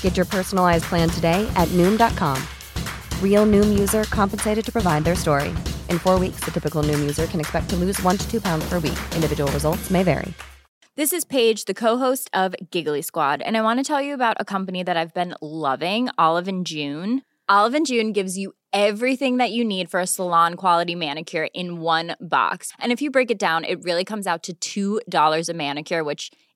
Get your personalized plan today at Noom.com. Real Noom user compensated to provide their story. In four weeks, the typical Noom user can expect to lose one to two pounds per week. Individual results may vary. This is Paige, the co-host of Giggly Squad, and I want to tell you about a company that I've been loving, Olive and June. Olive and June gives you everything that you need for a salon quality manicure in one box. And if you break it down, it really comes out to $2 a manicure, which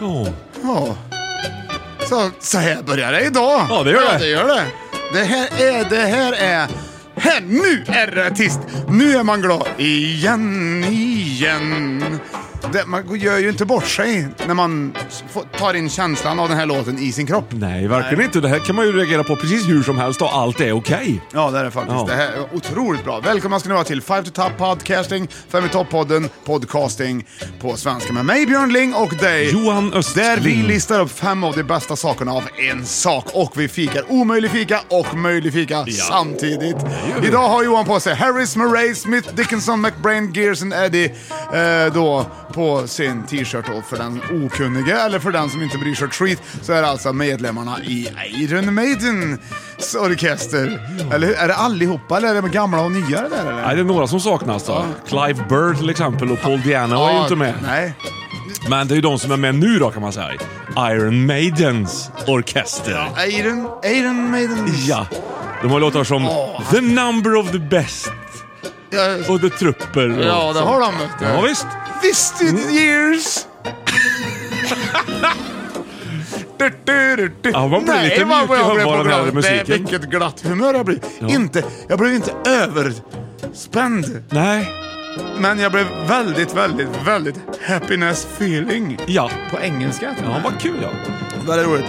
Ja, Ja. Så, så här börjar det idag. Ja, det gör det. Ja, det, gör det. det här är... Det här är... Här, nu är det tyst! Nu är man glad. Igen, igen. Det, man gör ju inte bort sig när man s- får- tar in känslan av den här låten i sin kropp. nej, verkligen inte. Det här kan man ju reagera på precis hur som helst och allt är okej. Ja, det är det faktiskt. Ja. Det här är otroligt bra. Välkomna ska ni vara till Five to Top Podcasting, Fem i topp-podden, podcasting på svenska med mig Björn Ling och dig Johan Östling. Där vi listar upp fem av de bästa sakerna av en sak och vi fikar omöjlig fika och möjlig fika samtidigt. Idag har Johan på sig Harris, Murray, Smith, Dickinson, McBrain, Gears and Eddie eh, då på sin t-shirt och för den okunniga eller för den som inte bryr sig ett skit så är det alltså medlemmarna i Iron Maidens orkester. Eller hur? Är det allihopa eller är det gamla och nya det där eller? Nej, det är några som saknas då. Clive Burr till exempel och Paul Diana var ju inte med. Nej. Men det är ju de som är med nu då kan man säga. Iron Maidens orkester. Iron, Iron Maiden. Ja, de har låtar som Ja. The Number of the Best Ja, och The Trupper. och ja det sånt. har de vet du. Ja, visst. Mm. Visted years. Du, du, du, du. Ja, man blir Nej, lite vad mjuk i jag blev humör av den här glad. musiken. Nej, vilket glatt humör jag blir. Inte, jag blev inte överspänd, Nej, men jag blev väldigt, väldigt, väldigt happiness feeling. ja. På engelska till och Ja, med. vad kul ja. Väldigt roligt.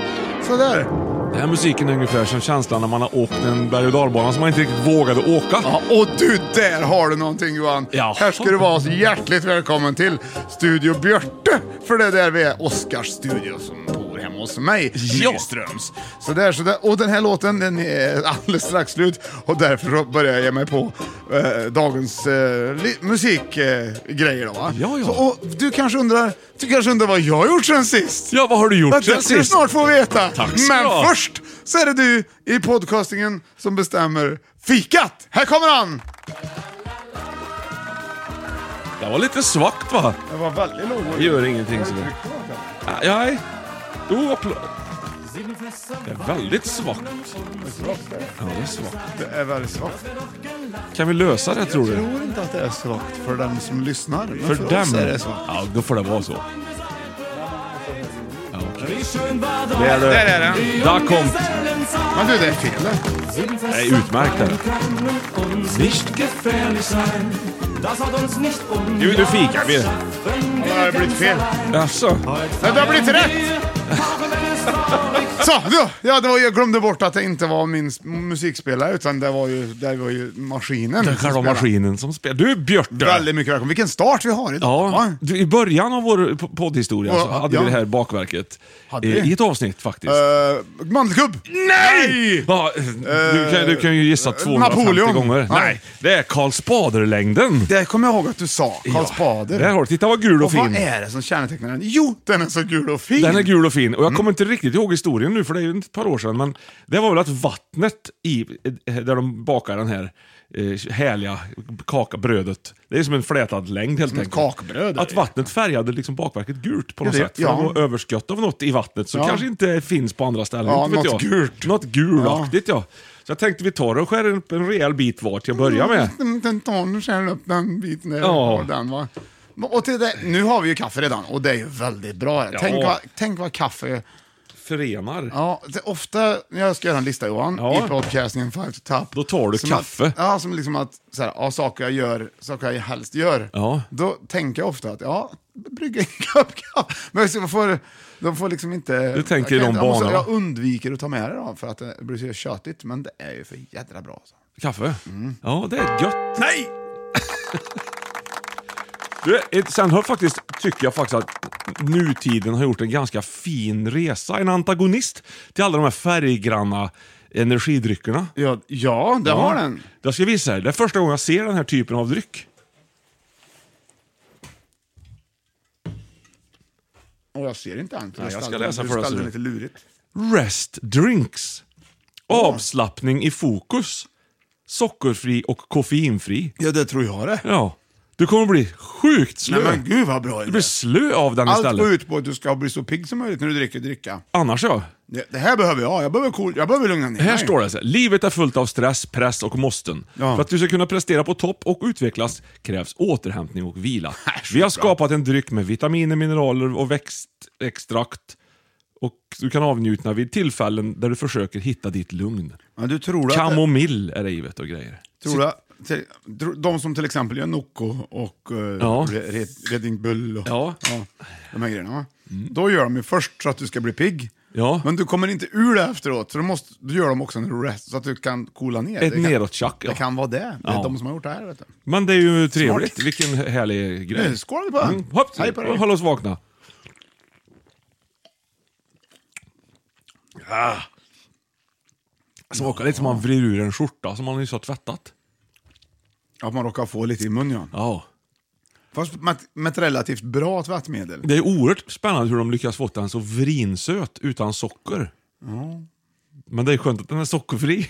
Sådär. Den här musiken är ungefär som känslan när man har åkt en berg och dalbana som man inte riktigt vågade åka. Ja, och du, där har du någonting Johan. Jaha. Här ska du vara så hjärtligt välkommen till Studio Björte. För det är där vi är, Oscars studio som bor hemma hos mig, Ja. Nyströms. Så där, så där. Och den här låten den är alldeles strax slut och därför så börjar jag ge mig på eh, dagens eh, musikgrejer. då va? Ja, ja. Så, och du kanske undrar, du kanske undrar vad jag har gjort sen sist? Ja, vad har du gjort Vänta, sen ska du sist? snart få veta. Tack ska Men du ha. först så är det du i podcastingen som bestämmer fikat. Här kommer han! Det var lite svagt va? Det var väldigt lågt. Det gör ingenting. Så. Nej. Jo, applåd. Det är väldigt svagt. Ja, det är svagt. Det är väldigt svagt. Kan vi lösa det tror Jag du? tror inte att det är svagt för den som lyssnar. Men För för dem? oss är det svagt. Ja, då får det vara så. Ja, okej. Det är Där det. är den. Da kommt. Men du, det är fel. Det är utmärkt där. Jo, nu fikar vi. Det har blivit fel. Jaså? Men det har blivit rätt! Så, då. Ja, det var, jag glömde bort att det inte var min s- musikspelare, utan det var ju, det var ju maskinen. som Själva spelade. maskinen som spelar. Du Björte! Väldigt mycket välkommen. Vilken start vi har idag. Ja, Va? du, i början av vår p- poddhistoria så Ja, hade vi ja. det här bakverket. Hade eh, vi? I ett avsnitt faktiskt. Eh, mandelkubb! Nej! Ja, du, kan, du kan ju gissa 250 Eh, Napoleon. gånger. Ja. Nej, det är Karl Spader-längden. Det kommer jag ihåg att du sa. Karl Spader. Där har du, titta vad gul och, och vad fin. är det som kännetecknar den? Jo, den är så gul och fin! Mm. Den är gul och fin. Och jag kommer inte riktigt ihåg historien nu för det är ju ett par år sedan. Men det var väl att vattnet i, där de bakar den här eh, härliga kakabrödet. Det är som en flätad längd helt Som ett enkelt. kakbröd. Att vattnet färgade liksom bakverket gult på något det- sätt. För ja. det var överskott av något i vattnet som Ja. kanske inte finns på andra ställen. Ja, inte vet något jag. gult. Något gulaktigt ja. Så jag tänkte vi tar och skär upp en rejäl bit var till att börja med. Den, den tar nu skär upp den biten där. Ja. och Den, va? Och till det, nu har vi ju kaffe redan och det är ju väldigt bra. Ja. Tänk, vad, tänk vad kaffe... Förenar. Ja, det, ofta när jag ska göra en lista Johan, Ja. i podcastingen Five to Tap. Då tar du som kaffe. Att, ja, som liksom att så här, ja, saker jag gör, saker jag helst gör. Ja. Då tänker jag ofta att ja, brygga en kopp kaffe. Men så får, de får liksom inte... Du tänker jag kan i inte- jag de måste- banorna. Jag undviker att ta med det då, för att det blir så tjötigt. Men det är ju för jädra bra. Alltså. Kaffe? Ja, det är gött. Nej! du, ett- sen har faktiskt, tycker jag faktiskt att nutiden har gjort en ganska fin resa. En antagonist till alla de här färggranna energidryckerna. Ja, ja det har den. Jag ska visa er. Det är första gången jag ser den här typen av dryck. Och jag ser inte den. för Nej, du jag ska ställde- läsa du för dig, ställde så den du- lite lurigt. Rest drinks. Avslappning i fokus. Sockerfri och koffeinfri. Ja, det tror jag det. Ja. Du kommer bli sjukt slö. Nej, men gud vad bra du idé. blir slö av den Allt istället. går ut på att du ska bli så pigg som möjligt när du dricker dricka. Annars ja. Det, det här behöver jag. Jag behöver, cool, jag behöver lugna ner Här mig. står det så här, livet är fullt av stress, press och måsten. Ja. För att du ska kunna prestera på topp och utvecklas krävs återhämtning och vila. Vi har skapat en dryck med vitaminer, mineraler och växtextrakt. Och du kan avnjuta vid tillfällen där du försöker hitta ditt lugn. Men du tror att... Kamomill är det givet och grejer. Tror du, till, tro- de som till exempel gör Nocco och uh, Ja. Redding Bull och Ja. de här grejerna. Va? Då gör de ju först så att du ska bli pigg. Ja. Men du kommer inte ur det efteråt, så du, måste, du gör dem också en rest så att du kan coola ner. Ett det kan, nedåttjack, ja. Det kan vara det. Det är Ja. de som har gjort det här. Vet du. Men det är ju trevligt. Vilken härlig Nu grej. skålar vi på den. Mm, hopp, Hej på dig. Håll oss vakna. Ah. Ja. Smakar lite som Alltså, man vrider ur en skjorta som man nyss har tvättat. Att man råkar få lite i munnen. Ja. Ja. Fast med, med ett relativt bra tvättmedel. Det är oerhört spännande hur de lyckas få den så vrinsöt utan socker. Men det är skönt att den är sockerfri.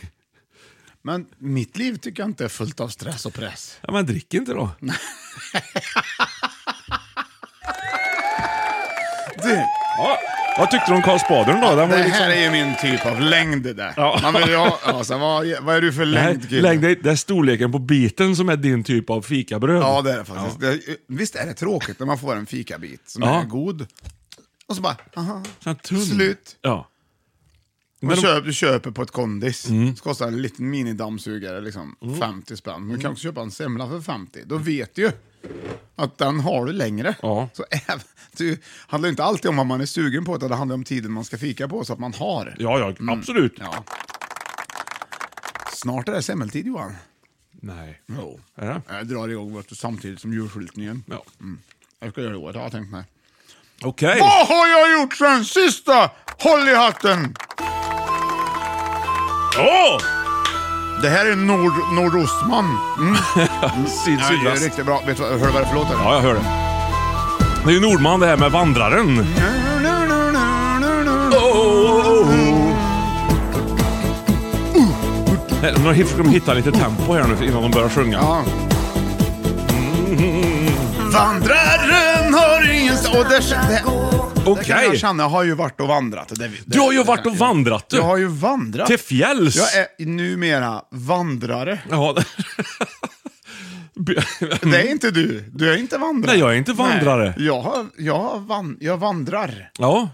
Men mitt liv tycker jag inte är fullt av stress och press. Ja, men drick inte då. Du, Ja. Vad tyckte du om Karl Spadern då? Den var det ju liksom... här är ju min typ av längd det där. Ja. Man vill ju ha, alltså, vad, vad är du för Nej, längd kille? lägg dig, det är storleken på biten som är din typ av fikabröd. Ja det är det faktiskt. Det, visst är det tråkigt när man får en fikabit som Ja. är god. Och så bara, aha. Sån här tunn. Slut. Ja. Du, Men de, Mm. köper, du köper på ett kondis, så kostar en liten minidammsugare liksom, 50 spänn. Men du Mm. kan också köpa en semla för 50. Då vet du ju att den har du längre. Ja. Så även, det handlar ju inte alltid om vad man är sugen på, utan det handlar om tiden man ska fika på så att man har. ja, ja, absolut. Mm. Ja. Snart är det semmeltid Johan. Nej. Jo. Är det? Eh, Jag drar igång vet du, samtidigt som julskyltningen. Ja. Jag ska göra det i år, har jag tänkt mig. Okej. Vad har jag gjort sen sista? Håll i hatten! Åh! Det här är Nord, Nordostman. Mm. Syd, Ja, det är sydväst. riktigt bra. Vet du, vad- hör du vad det är för låt? eller? Ja, jag hör det. Det är ju Nordman det här med vandraren. Nej, De hitt- de hittar lite tempo här nu innan de börjar sjunga. Ja. Mm. Vandraren har ingen... st- Och det, det, det kan Okej. jag känna, jag har ju varit och vandrat. Det, det, Du har ju varit och vandrat du. Jag har ju vandrat. Till fjälls. Jag är numera vandrare. Ja. Mm. Det är inte du. Du är inte vandrare. Nej, jag är inte vandrare. Nej, jag, har, jag, har van, jag vandrar. Ja.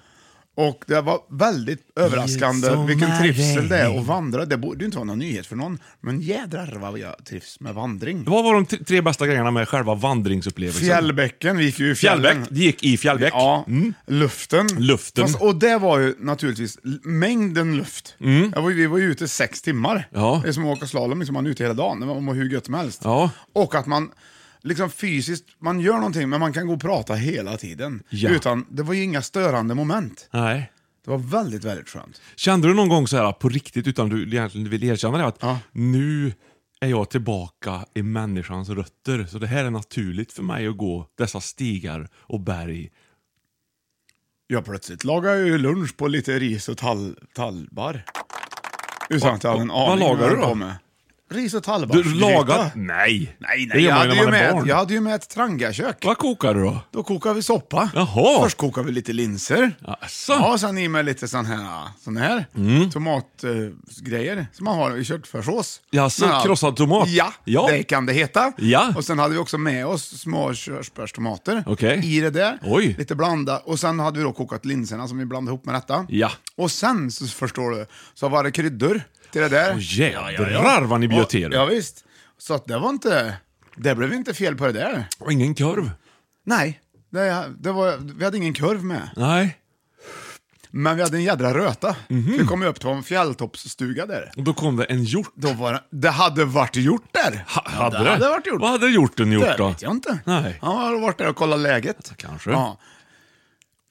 Och det var väldigt överraskande It's vilken my trivsel det är day. att vandra. Det borde ju inte vara någon nyhet för någon, men jädrar vad jag trivs med vandring. Vad var de t- tre bästa grejerna med själva vandringsupplevelsen? Fjällbäcken, vi gick ju i fjällen. Fjällbäck. Det gick i Fjällbäck. Ja, Mm. luften. Luften. Fast, och det var ju naturligtvis l- mängden luft. Jag var, ju- vi var ju ute sex timmar. Mm. Ja. Det är som att åka slalom, liksom, man är ute hela dagen. Man mår hur gött som helst. Ja. Och att man liksom fysiskt, man gör någonting men man kan gå och prata hela tiden. Ja. Utan, det var ju inga störande moment. Nej. Det var väldigt, väldigt skönt. Kände du någon gång så här på riktigt, utan du egentligen vill erkänna det, att Ja. nu är jag tillbaka i människans rötter. Så det här är naturligt för mig att gå dessa stigar och berg. Ja, plötsligt lagade jag ju lunch på lite ris och tall, tallbar. Utan att jag hade en vad aning om lagar jag du höll då? på med. Ris och tallbar. Du lagar... Gryta. Nej! Nej, Det nej, gör jag hade, man ju när ju man är med, barn. jag hade ju med ett trangakök. Vad kokar du då? Då kokade vi soppa. Jaha. Först kokade vi lite linser. Asså. Ja, sen i med lite sån här, sån här Mm. tomatgrejer som man har i köttfärssås. Jaså, Men, ja, krossad tomat? Ja, Ja. det kan det heta. Ja. Och sen hade vi också med oss små körsbärstomater Okej. i det där. Oj. Lite blanda. Och sen hade vi då kokat linserna som vi blandade ihop med detta. Ja. Och sen, så förstår du, så var det kryddor till det där. Åh, jädrar vad ni bjöd till er. Ja, visst. Så att det var inte... Det blev inte fel på det där. Och ingen korv? Nej, det, det var, vi hade ingen kurv med. Nej. Men vi hade en jädra röta. Mhm. Vi kom ju upp till en fjälltoppsstuga där. Och då kom det en hjort. Då var det, det hade varit gjort där. Ha, Ja, hade det? det? hade varit gjort. Vad hade hjorten gjort Det då? vet jag inte. Nej. Han har varit där och kollat läget. Kanske. Ja.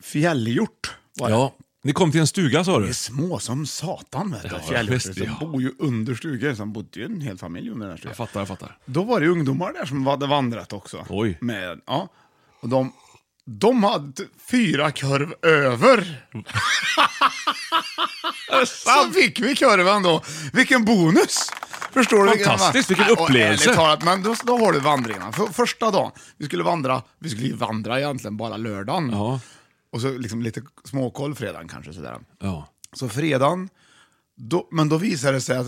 Fjällhjort var det. Ja. Ni kom till en stuga sa Det du? är små som satan vet du. Ja, Fjällhjortar visst, som ja. bor ju under stugor. Sen bodde ju en hel familj under den här stugan. Jag fattar, jag fattar. Då var det ju ungdomar där som hade vandrat också. Oj. Med, ja. Och de, de hade t- fyra kurv över. Så fick vi kurvan då. Vilken bonus! Förstår du? Fantastiskt, vilken Ja, och upplevelse. ärligt talat, men då, då har du vandringarna. För, första dagen, vi skulle vandra, vi skulle ju vandra egentligen bara lördagen. Ja. Och så liksom lite småkoll fredagen kanske sådär. Ja. Så fredagen, då, men då visade det sig att,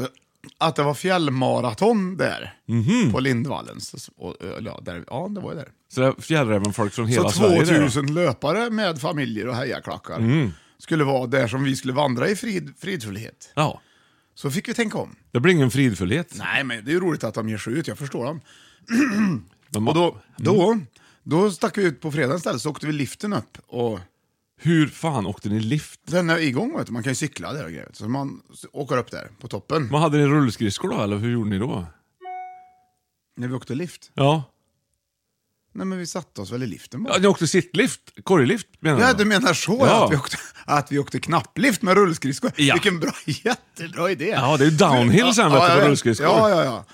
att det var fjällmaraton där. Mhm. På Lindvallen. Så, och, eh, ja, där, ja, det var ju där. Så det fjällräven folk från hela så Sverige? där, Mm. då? 2000 löpare med familjer och hejaklackar skulle vara där som vi skulle vandra i frid, fridfullhet. Ja. Så fick vi tänka om. Det blir ingen fridfullhet. Nej, men det är ju roligt att de ger sig ut, jag förstår dem. De- mm. Och då, då, då stack vi ut på fredagen istället, så åkte vi liften upp. Och Hur fan åkte ni lift? den är igång, vet du. man kan ju cykla där och grejer. Så man åker upp där, på toppen, Men hade ni rullskridskor då, eller hur gjorde ni då? när vi åkte lift. Ja. Nej men vi satte oss väl i liften bara. ja ni åkte sittlift? Korglift menar Ja, jag. du menar så Ja. att, vi åkte, att vi åkte knapplift med rullskridskor. Ja. Vilken bra, jättebra idé. Ja, det är ju downhill sen, vet du, jag med rullskridskor. Ja, ja, ja.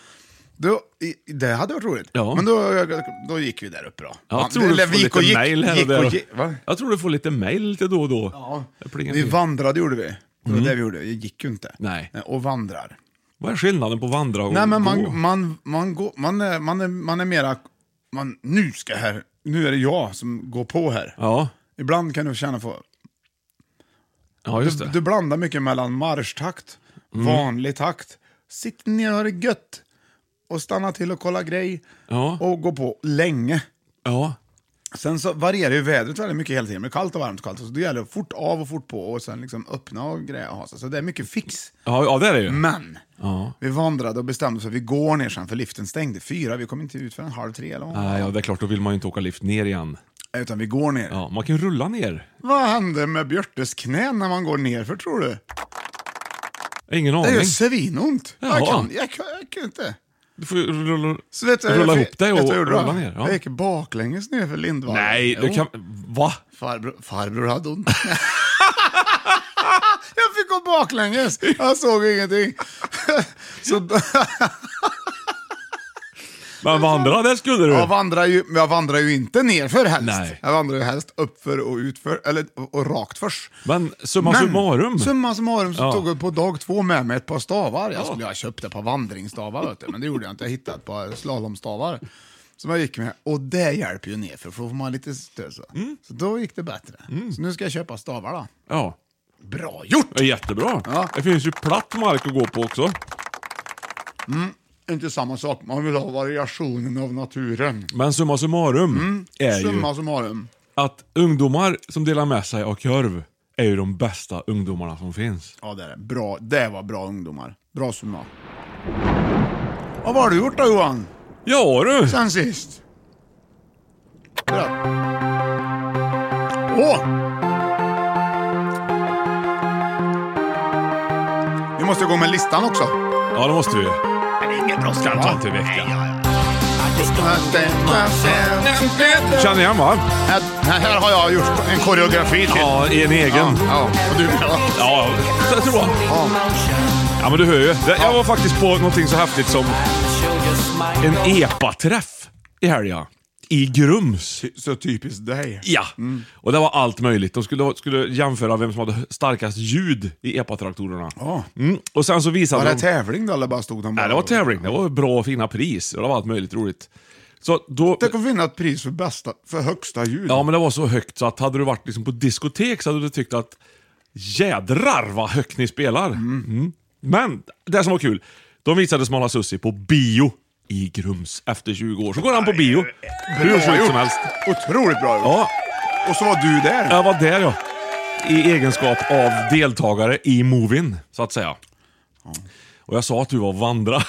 Då, i, det hade varit roligt. Ja. Men då, då gick vi där upp då. Ja, Man- jag tror eller du får lite gick, mail här och gick där. och gick, va? jag tror du får lite mail lite då och då. Ja. Vi vandrade gjorde vi. Det var det vi gjorde. Det gick ju inte. Mm. Eh, Nej. Och vandrar. Vad är skillnaden på vandra och Nej, men gå? man, man, man, går, man, är, man, är, man är mera... Man, nu ska jag här... Nu är det jag som går på här. Ja. Ibland kan du känna för... ja, just Du, det. Mm. du blandar mycket mellan marschtakt, vanlig takt, sitt ner och ha det gött och stanna till och kolla grej Ja. och gå på länge. Ja. Sen så varierar ju vädret väldigt mycket hela tiden. Det är kallt och varmt och kallt. Så det gäller fort av och fort på och sen liksom öppna och grejer och ha sig. Så det är mycket fix. Ja, ja, det är det ju. Men Ja. vi vandrade och bestämde oss för att vi går ner sen för liften stängde fyra. Vi kom inte ut förrän halv tre eller vad. Nej, ja, det är klart, då vill man ju inte åka lift ner igen. Utan vi går ner. Ja, man kan ju rulla ner. Vad händer med Björtes knän när man går ner för tror du? Ingen Det aning. är ju svinont. Jag Jaha. kan, jag, kan, jag kan inte. Du får ju rulla... Så vet du, rulla jag- ihop dig vet du och vad jag gjorde då? rulla ner. Ja. Jag gick baklänges ner för Lindvallen. Nej, Jo. du kan... Va? Farbror, farbror hade ont. jag fick gå baklänges. Jag såg ingenting. Så, Men vandra, det skulle du. jag, vandrar ju, men jag vandrar ju inte nerför helst. Nej. Jag vandrar ju helst uppför och utför, eller och, och rakt först. Men summa summarum. Summa summarum så Ja. tog jag på dag två med mig ett par stavar. Jag skulle ha köpt ett par vandringsstavar, vet du, men det gjorde jag inte. Jag hittade ett par slalomstavar som jag gick med. Och det hjälper ju ner för då får man lite stöd. Så, Mm. så då gick det bättre. Så nu ska jag köpa stavar då. Ja. Bra gjort! Ja, Jättebra. Ja. Det finns ju platt mark att gå på också. Inte samma sak, man vill ha variationen av naturen. Men summa summarum är ju Mm, Summa summarum. att ungdomar som delar med sig av korv är ju de bästa ungdomarna som finns. Ja, det är det. Bra. Det var bra ungdomar. Bra summa. Och vad har du gjort då Johan? Ja du! Sen sist? Bra. Åh! Vi måste gå med listan också. Ja det måste vi ju. Ingen brådska. Kan ta en till vecka. Känner igen va? Här har jag gjort en koreografi till. Ja, en egen. Ja, Ja, ja. Och du ja. ja jag tror jag. Ja men du hör ju. Det- Jag var faktiskt på någonting så häftigt som en EPA-träff i helgen. I Grums. Så typiskt dig. Ja, och det var allt möjligt. De skulle, skulle jämföra vem som hade starkast ljud i EPA-traktorerna. Ja. Mm. Och sen så visade Var det de... tävling då eller bara stod han bara? Nej, det var tävling. Det var bra och fina pris och det var allt möjligt roligt. Så då... Tänk att vinna ett pris för bästa, för högsta ljud. Ja, men det var så högt så att hade du varit liksom på diskotek så hade du tyckt att jädrar vad högt ni spelar. Mm. Men det som var kul, de visade Smala Sussi på bio i Grums efter 20 år. Så går han på bio, hur sjukt gjort. som helst. Otroligt bra gjort. Ja, Och så var du där. jag var där ja. I egenskap av deltagare i Movin, så att säga. Och jag sa att du var vandra.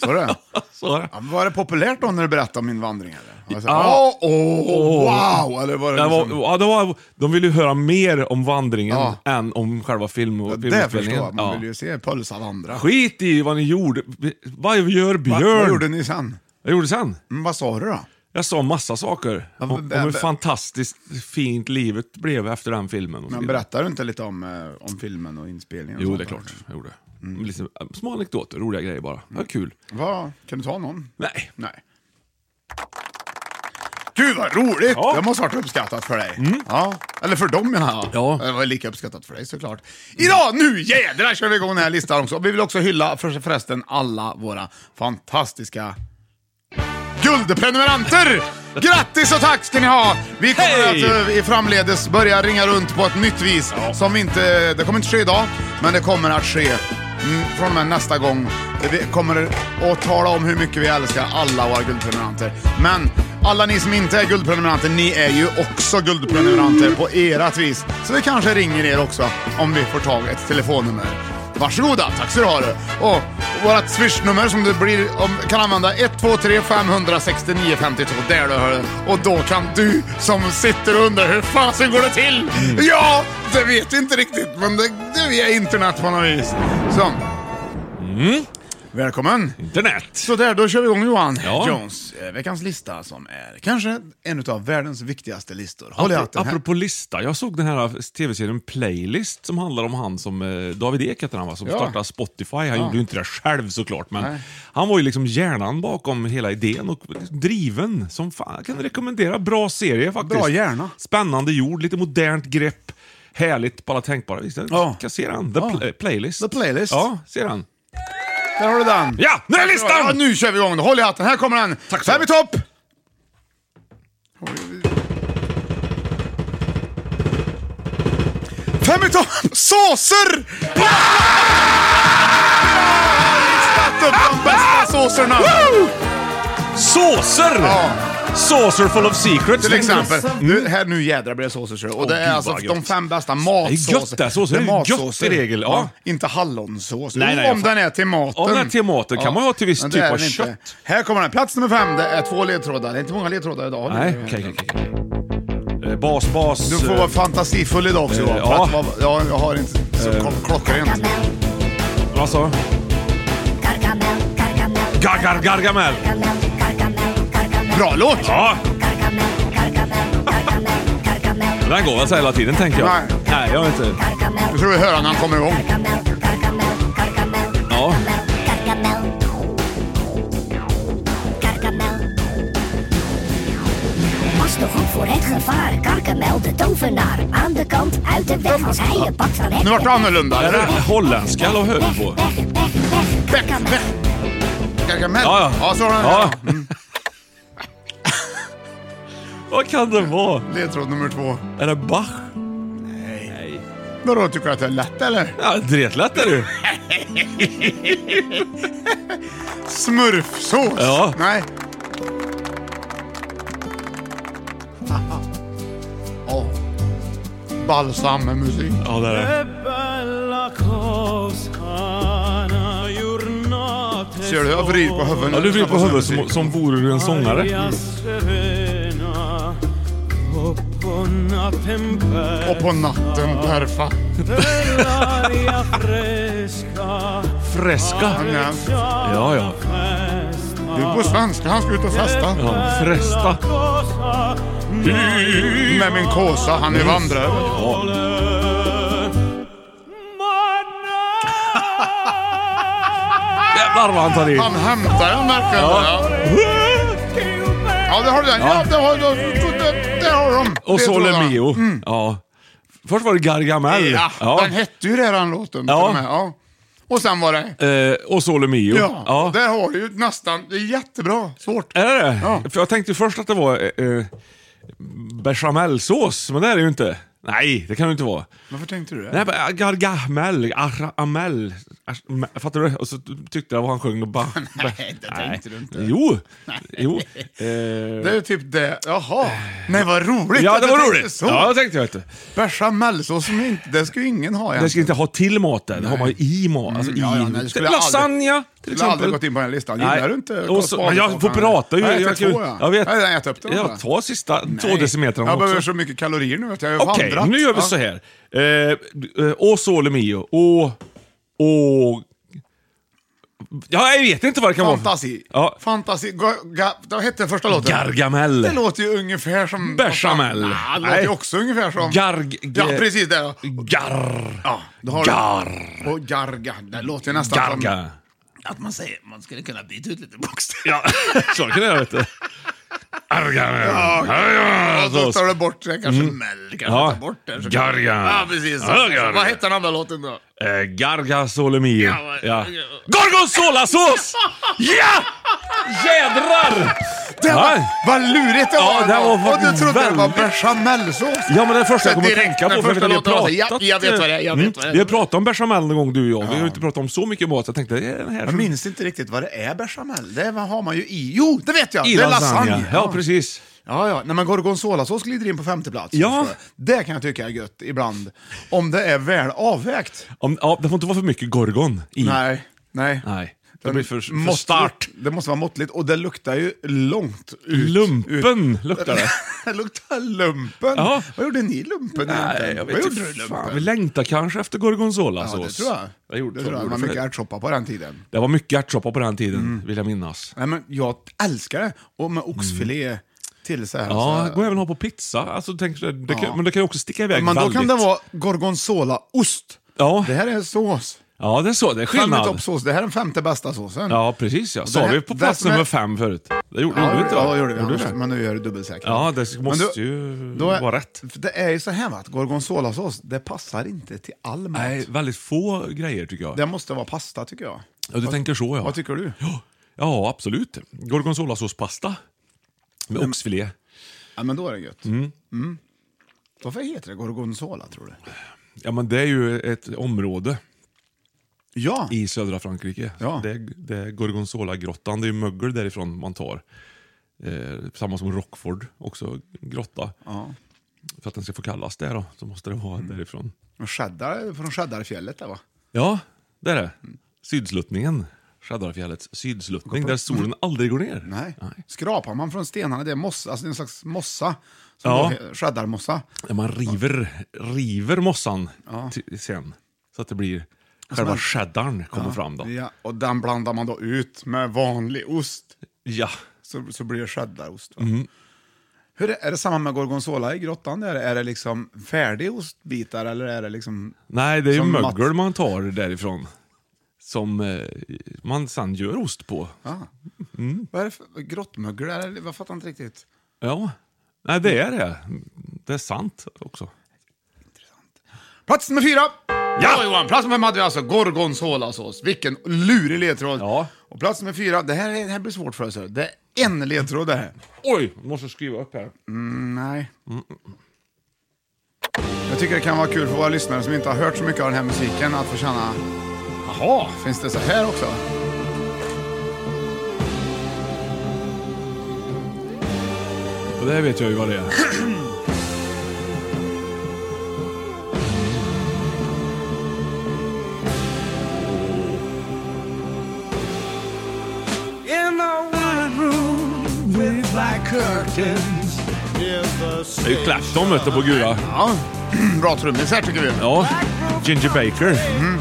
Så det. så var det. Ja, men var det populärt då när du berättade om min vandring? Eller? Var det så här, Ja. Åh, åh, wow! Eller var det Det var, liksom, ja, det var, de ville ju höra mer om vandringen Ja. än om själva film och det filminspelningen. förstår jag, man Ja. vill ju se Pölsa vandra. Skit i vad ni gjorde. Vad gör Va- Björn? Vad gjorde ni sen? Jag gjorde sen. Mm, vad sa du då? Jag sa massa saker om, om men- hur fantastiskt fint livet blev efter den filmen. Och så Men vidare. berättar du inte lite om, eh, om filmen och inspelningen? och Jo, sånt det är där? klart. Jag gjorde. Mm. Lite, äh, små anekdoter, roliga grejer bara. Det var kul. Va? Kan du ta någon? Nej. Nej. Gud vad roligt! Ja. Mm. Det måste ha varit uppskattat för dig. Ja. Eller för dem menar jag. Ja. Det var lika uppskattat för dig såklart. Idag, nu jädrar kör vi igång den här listan också. Vi vill också hylla för, förresten alla våra fantastiska guldprenumeranter! Grattis och tack ska ni ha! Vi kommer Hej! att eh, i framledes börja ringa runt på ett nytt vis. Som vi inte, det kommer inte ske idag, men det kommer att ske mm, från och med nästa gång. Vi kommer att tala om hur mycket vi älskar alla våra guldprenumeranter. Men alla ni som inte är guldprenumeranter, ni är ju också guldprenumeranter på ert vis. Så vi kanske ringer er också om vi får tag i ett telefonnummer. Varsågoda, tack så du ha du. Och vårt swishnummer som du blir, om, kan använda 123 569 52. Där du hör det. Och då kan du som sitter och undrar hur fasen går det till? Mm. Ja, det vet vi inte riktigt men det, det är internet på något vis. Så. Mm. Välkommen! Internet. Så där, då kör vi igång Johan Ja. Jones. Eh, Veckans lista som är kanske en av världens viktigaste listor. Håll i Apropå, hatten här. apropå lista, jag såg den här tv-serien Playlist som handlar om han som, eh, David Ek heter han va, som Ja. startade Spotify. Han gjorde ju inte det själv såklart, men han var ju liksom hjärnan bakom hela idén och driven som fan. Jag kan rekommendera, bra serie faktiskt. Bra hjärna. Spännande gjord, lite modernt grepp. Härligt på alla tänkbara vis. Ja. Kan se den. The Ja. pla- Playlist. The Playlist. Ja, se den. Där har du den! Ja, nu är listan! Ja, nu kör vi igång då. Håll i hatten, här kommer den. Tack så Fem i mycket. topp! Fem i topp! Såser! Ja! Listat upp de bästa såserna! Woo! Såser! Ja. Saucer full of secrets. Till Den- exempel. Nu, här nu jädrar blir det såser. ser du. Och det Åh, är gud, alltså vad de gött. fem bästa Det är gött matsåser. det. Såser är gött i regel, ja. Inte hallonsås. Nej, nej, jag Om fattar. den är till maten. Om den är till maten kan man ju ha till viss men det typ är av den inte. kött. Här kommer den. Plats nummer fem. Det är två ledtrådar. Det är inte många ledtrådar idag. Nej, okej, okej. okej. Eh, Bas, bas. Du får eh, vara fantasifull idag också. eh, Johan, för ja. Eh. att vara- ja, jag har inte så kol- klockrent. Vad sa du? Gargar, Gargamel. Bra låt! Ja, den här går väl så hela tiden tänker jag. Nej. Nej, jag vet inte. Nu får vi höra när han kommer igång. Ja. Was nog goed voor het gevaar. Karkemel, de tovenaar. Aan de kant, uit de weg. Als hij je pakt, dan heb je Nu vart det annorlunda. Är eller hur? det holländska eller vad höll du på? Weg, weg, weg. Karkemel. Gargamel. Ja, ja. ja, så har den. Ja. Vad kan det vara? Ledtråd nummer två. Är det Bach? Vadå, tycker du att det är lätt eller? Ja, dretlätt är du. Smurfsås? Ja. Nej. Haha. Ja. balsam med musik. Ja, det är det. Ser du hur jag vrider på huvudet? Ja, du vrider på huvudet som, som vore du en sångare. Och på natten, perfa. Freska. Han är- Ja, ja. Du är på svenska, han ska ut och festa. ja. Fresta. Med min kåsa, han är vandrare. Ja. Jävlar vad han tar i. Han hämtar den verkligen. Ja. ja, det har du den. Ja, det har du. Det, det har de. Och Det tror jag. Sole Mio. Ja. Först var det Gargamel. Mm. Ja, den hette ju det den låten. Ja. till och med, ja. Och sen var det... Eh, och Sole Mio. Ja, där har du ju nästan. Det är jättebra. Svårt. Är det det? Ja. För jag tänkte ju först att det var eh, eh, bechamelsås, men det är det ju inte. Nej, det kan det inte vara. Varför tänkte du det? Nej, men eh, gargamel, arramel. Ars- Fattar du? Och så tyckte jag vad han sjöng och bara... Nej, det tänkte du inte. Jo. jo. Eh, Det är typ det. Jaha. Nej, vad roligt. Ja, att det du var tänkte roligt. Så. Ja, det tänkte jag inte. Bechamelsås som inte... Det ska ju ingen ha Det egentligen. ska inte ha till maten, det har man ju i maten. Alltså, Mm. ja, i, nej, det skulle jag lasagne aldrig- till skulle exempel. jag aldrig gått in på den listan. Gillar du inte Och så, Karl men Jag Svanesson? får prata ju. Nej, jag kan ju- tror jag. jag vet. Nej, den äter upp den, Jag va? tar sista två decimetrarna Jag behöver också. så mycket kalorier nu att jag har Okej, vandrat. nu gör vi Ja. så här. Eh, eh, och Sole Mio. Och... Och... Ja, jag vet inte vad det kan vara. Fantasi. Ja. Fantasi. Ga, ga, vad hette den första låten? Gargamel. Det låter ju ungefär som... Bechamel. Nej, det låter Nej. ju också ungefär som... Garg... Ja, precis det. ja. Garr... Ja, då har Garr... du. Och garga. Det låter ju nästan Garga. som... Att man säger, man skulle kunna byta ut lite bokstäver. Ja, så kan jag veta. Argamel. Ja, så tar du bort det, kanske mell, kanske Mm. Ja. tar bort det. så- Garga. Ja, precis. Så. Ja, garga. Vad hette den andra låten då? Eh, Garga Solemio. Ja, vad- Ja. Gorgonzolasås! Ja! Jädrar! Det var, Ja. vad lurigt det Ja, var! det här ändå. var och du faktiskt trodde det var väldigt- bechamelsås? Ja, men det är första Så jag kommer att direkt tänka när på. För första att vi har låten var så, ja, pratat, jag vet vad det är, jag Mm, vet vad det är. Vi har pratat om bechamel någon gång du och jag. Vi har ju inte pratat om så mycket mat. så Jag tänkte, det är den här Jag som- minns inte riktigt vad det är bechamel. Det har man ju i. Jo, det vet jag! i det är lasagne. Ja, precis. Ja, ja. När man gorgonzolasås glider in på femte plats. Ja. Det kan jag tycka är gött ibland. Om det är väl avvägt. Om, ja, det får inte vara för mycket gorgon i. Nej, nej. Nej. Det Den blir för, för måste- start. Det måste vara måttligt och det luktar ju långt ut. Lumpen luktar det. Det luktar lumpen. Ja. Vad gjorde ni i lumpen Nej, egentligen? jag Vad vet gjorde du i inte. Fan, lumpen? vi längtar kanske efter gorgonzolasås. Ja, det tror jag. Jag gjorde, det tror jag. Det var för- mycket ärtsoppa Mm. på den tiden. Det var mycket ärtsoppa på den tiden, vill jag minnas. Nej, men jag älskar det. Och med oxfilé till så här. Mm. Ja, så går även att ha på pizza. Alltså, tänk, det, det kan, Alltså, Ja. Men det kan ju också sticka iväg men då väldigt. kan det vara gorgonzola-ost. Ja. Det här är sås. Ja, det är så. Det är skillnad. Toppsås. Det här är den femte bästa såsen. Ja, precis ja. Sa här- vi på det plats som är- nummer fem förut? Det gjorde Ja, gjorde vi inte ja, det gjorde vi. Gjorde Annars- det? Men nu gör du dubbelsäkert. Ja, det Men måste då- ju då är- vara Mm. rätt. för Det är ju så här va, att gorgonzolasås, det passar inte till all mat. Nej, väldigt få grejer tycker jag. Det måste vara pasta tycker jag. Ja, du tänker så ja. Vad tycker du? Ja, ja absolut. Gorgonzolasåspasta. Med Mm. oxfilé. Ja, men då är det gött. Mm. Varför heter det gorgonzola tror du? Ja, men det är ju ett område Ja, i södra Frankrike. Ja. Det, är, det är Gorgonzola-grottan. Det är ju mögel därifrån man tar. Eh, samma som Rockford, också grotta. För att den ska få kallas det då, så måste det vara Mm. därifrån. men cheddar, från cheddarfjället där va? Ja, det är det. Mm. Sydsluttningen. Skärdarfjällets sydsluttning, där solen aldrig går ner. Nej. Skrapar man från stenarna, det är mossa, alltså det är en slags mossa. Som Ja. då he- Cheddarmossa. Där Man river, river mossan till- sen, så att det blir själva cheddarn kommer fram. då. Alltså Ja, och den blandar man då ut med vanlig ost. Ja. Så, så blir det cheddarost. Va? Mm. Hur är, är det samma med gorgonzola i grottan? Där? Är det liksom färdig ostbitar eller är det liksom... Nej, det är ju Som mögel Mats- man tar därifrån. Som eh, man sen gör ost på. Vad är det för grottmögel? Eller, jag fattar inte riktigt. Ja. Nej, det är det. Det är sant också. Plats nummer fyra! Ja! Johan, plats nummer fem hade vi alltså gorgonzolasås. Vilken lurig ledtråd. Ja. Och plats nummer fyra, det här, är- det här blir svårt för oss. här. Det är en ledtråd det här. Oj, måste skriva upp här. Nej. Jag tycker det kan vara kul för våra lyssnare som inte har hört så mycket av den här musiken att få känna, Jaha. finns det så här också? Och det här vet jag ju vad det är. Det är ju Clapton mötte på Gura. Ja, bra trummis här tycker vi. Ja, Ginger Baker. Mm.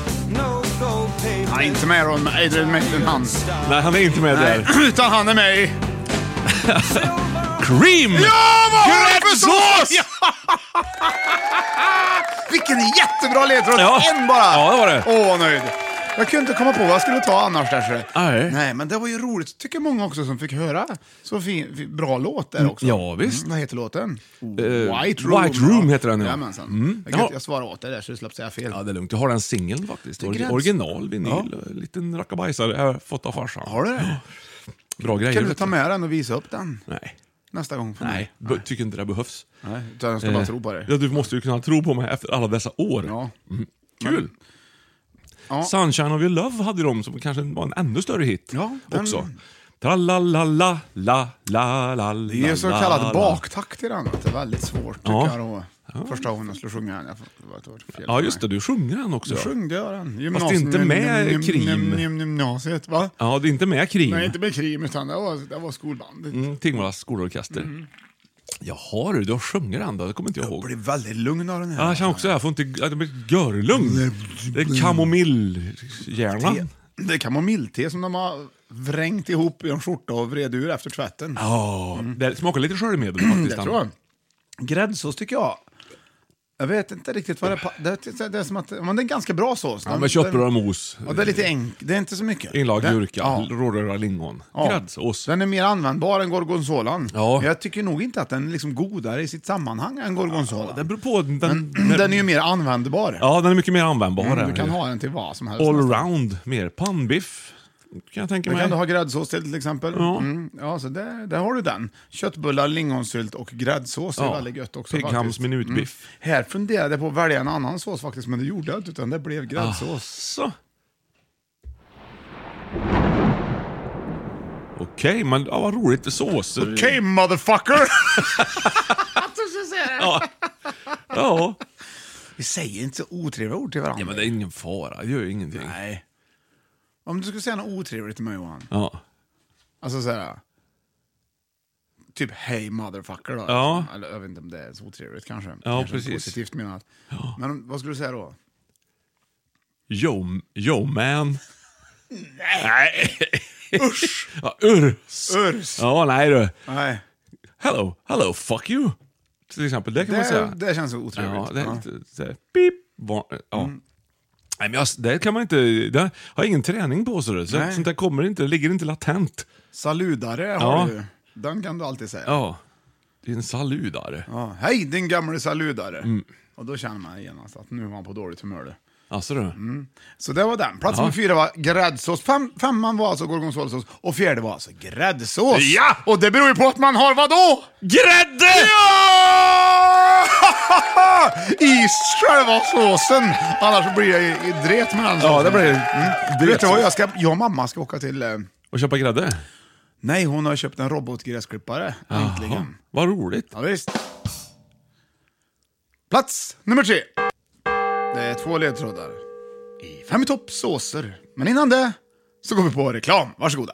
Ja, inte med Aaron, Adrian Maiden han. Nej, han är inte med där. Utan han är med i... Cream! Ja, vad har du för Gräddsås! sås? Vilken jättebra ledtråd! Ja. En bara! Ja, det var det. Åh, vad nöjd. Jag kunde inte komma på vad jag skulle ta annars. Där, så. Nej. Nej, men det var ju roligt, tycker många också som fick höra. Så fin, fin- bra låt där också. Mm, Mm, ja, visst. Eh, vad heter låten? White Room heter den, ja. Jajamensan. Mm. Jag, kan- Ja. jag svarade åt dig där så du slapp säga fel. Ja, det är lugnt. Jag har den singeln faktiskt. Orgi- gräns. original vinyl. Liten rackabajsare. Jag har fått av farsan. Har du det? Bra grejer. Kan du vet ta med den och visa upp den Nej. nästa gång? För Nej, Mig? Nej. tycker inte det behövs. Nej. Utan jag ska bara Eh, tro på dig. Ja, du måste ju kunna tro på mig efter alla dessa år. Ja. Kul! Ja. Sunshine of your love hade de som kanske var en ännu större hit Ja, den- också. Tralalala, la, la, la, la, Det är ju så la, la. kallad baktakt i den. Det är väldigt svårt tycker Ja. jag. Då. Första gången jag skulle sjunga den. Jag får- det var- det var fel Ja, för just mig. det. Du sjunger den också. Då ja. sjungde jag den. inte med gym- gym- krim. gym- gym- Gymnasiet, va? Ja, det är inte med Krim. Nej, inte med krim, utan det var, det var skolbandet. Mm, Tingvallas skolorkester. Mm. Jaha du, du har sjungit den då? Det kommer inte jag ihåg. Jag blev väldigt lugn av den Ja, här. jag känner också det. Jag får inte... Jag blir görlugn. Mm. Det är kamomillhjärnan. Det kan vara miltte som de har vrängt ihop i en skjorta och vred ur efter tvätten. Ja, det smakar lite sköljmedel faktiskt. det tror jag. Gräddsås tycker jag. Jag vet inte riktigt vad det pa- det, det, det är som att, men det är en ganska bra sås. Ja, med köttbullar och mos. Ja, det är lite enkelt. Det är inte så mycket. Inlagd Den- gurka, ja. råröra lingon, Ja. gräddsås. Den är mer användbar än gorgonzolan. Ja. Men Jag tycker nog inte att den är liksom godare i sitt sammanhang än gorgonzolan. Den beror på. Den, Men Mm, den är ju mer användbar. Ja, den är mycket mer användbar. Mm, är du den kan ju. ha den till vad som helst. nästan. Allround, mer pannbiff. Kan jag tänka Det mig. kan du ha gräddsås till till exempel. Ja. Mm, ja så där, där har du den. Köttbullar, lingonsylt och gräddsås är Ja. väldigt gött också. Pigghams faktiskt. minutbiff. Mm. Här funderade jag på att välja en annan sås faktiskt, men det gjorde jag inte, utan det Ah. blev Alltså. gräddsås. Så. Okej, men ja, vad roligt. Såser. Okej motherfucker! Ja. Vi säger inte så otrevliga ord till varandra. ja, men det är ingen fara. Det gör ju ingenting. Nej. Om du skulle säga något otrevligt till mig Johan, Ja. alltså såhär... Typ hej motherfucker då. liksom. Ja. Eller, jag vet inte om det är så otrevligt kanske. Ja, precis. Positivt menat. Men vad skulle du säga då? Yo, yo man. Nej. Usch. Ja, urs. Urs. Ja, nej du. Nej, Hello, hello, fuck you. Till exempel, det kan man säga. det, det känns otrevligt. Ja, Mm. det är lite så här, pip. Var, ja. Nej, men jag, det kan man inte... Det har jag ingen träning på, så det, så Nej. sånt där kommer inte, ligger inte latent. Saludare Ja. har du. Den kan du alltid säga. Ja. Ja. Det är en saludare. hej din gamle saludare. Mm. Och då känner man genast att nu var han på dåligt humör. Du. Alltså du. Så det var den. Plats nummer fyra var gräddsås. Fem, femman var alltså gorgonzolasås och fjärde var alltså gräddsås. Ja! Och det beror ju på att man har vadå? Grädde! Ja! I själva såsen. Annars blir jag i, i dret med den Ja, det såsen. blir Mm. Vet du vad, jag, ska, jag och mamma ska åka till... Eh, Och köpa grädde? nej, hon har köpt en robotgräsklippare. Jaha, Äntligen. Vad roligt. Ja, visst. Plats nummer tre. Det är två ledtrådar. I fem i topp såser. Men innan det så går vi på reklam. Varsågoda.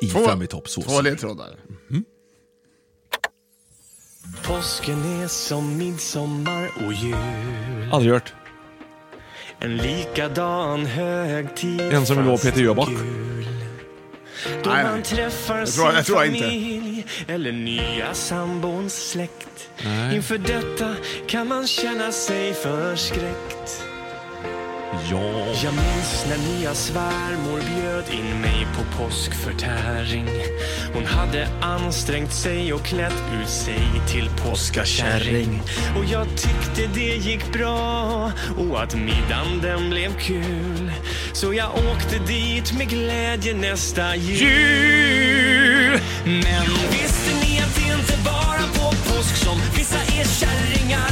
I Två- Fem i topp-såsen. Två ledtrådar. Påsken är som midsommar och jul Aldrig hört. En likadan högtid En som vill vara fast Peter Jöback. Då Nej, man nej. träffar Jag tror- jag sin tror inte. familj Eller nya sambons släkt Nej. Inför detta kan man känna sig förskräckt Ja. Jag minns när nya svärmor bjöd in mig på påskförtäring Hon hade ansträngt sig och klätt ut sig till påskakärring Och jag tyckte det gick bra och att middagen den blev kul Så jag åkte dit med glädje nästa jul Men visste ni att det inte bara på påsk som vissa är kärringar?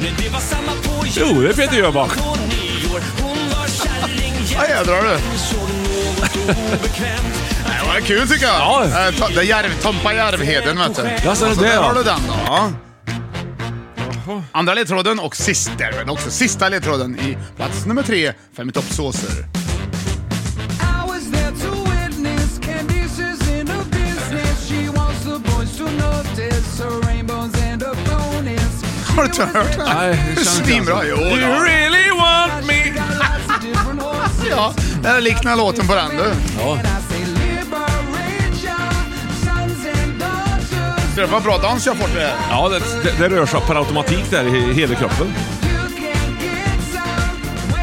Nej, det var samma på jul Jo, det är Peter Jöback. på nyår. Hon var kärring Ja, jädrar du. Hon såg något obekvämt Det var kul tycker jag. Eh, ta- det är järv, Tompa Järvheden vet du. Ja, så är det Så det, där ja. har du den då. Ja. Andra ledtråden och sist där är den också. Sista ledtråden i plats nummer tre, Fem i topp-såser. I was there to witness Candice is in the business. She wants the boys to notice her rainbows and her bonus. Har du inte hört den? Nej, det känns Svinbra. inte Jo alls. då. You really want me? ja, det liknar låten på den du. Ja. Det var bra dans jag fått eh? det här. Ja, det, det, det rör sig per automatik där i hela kroppen.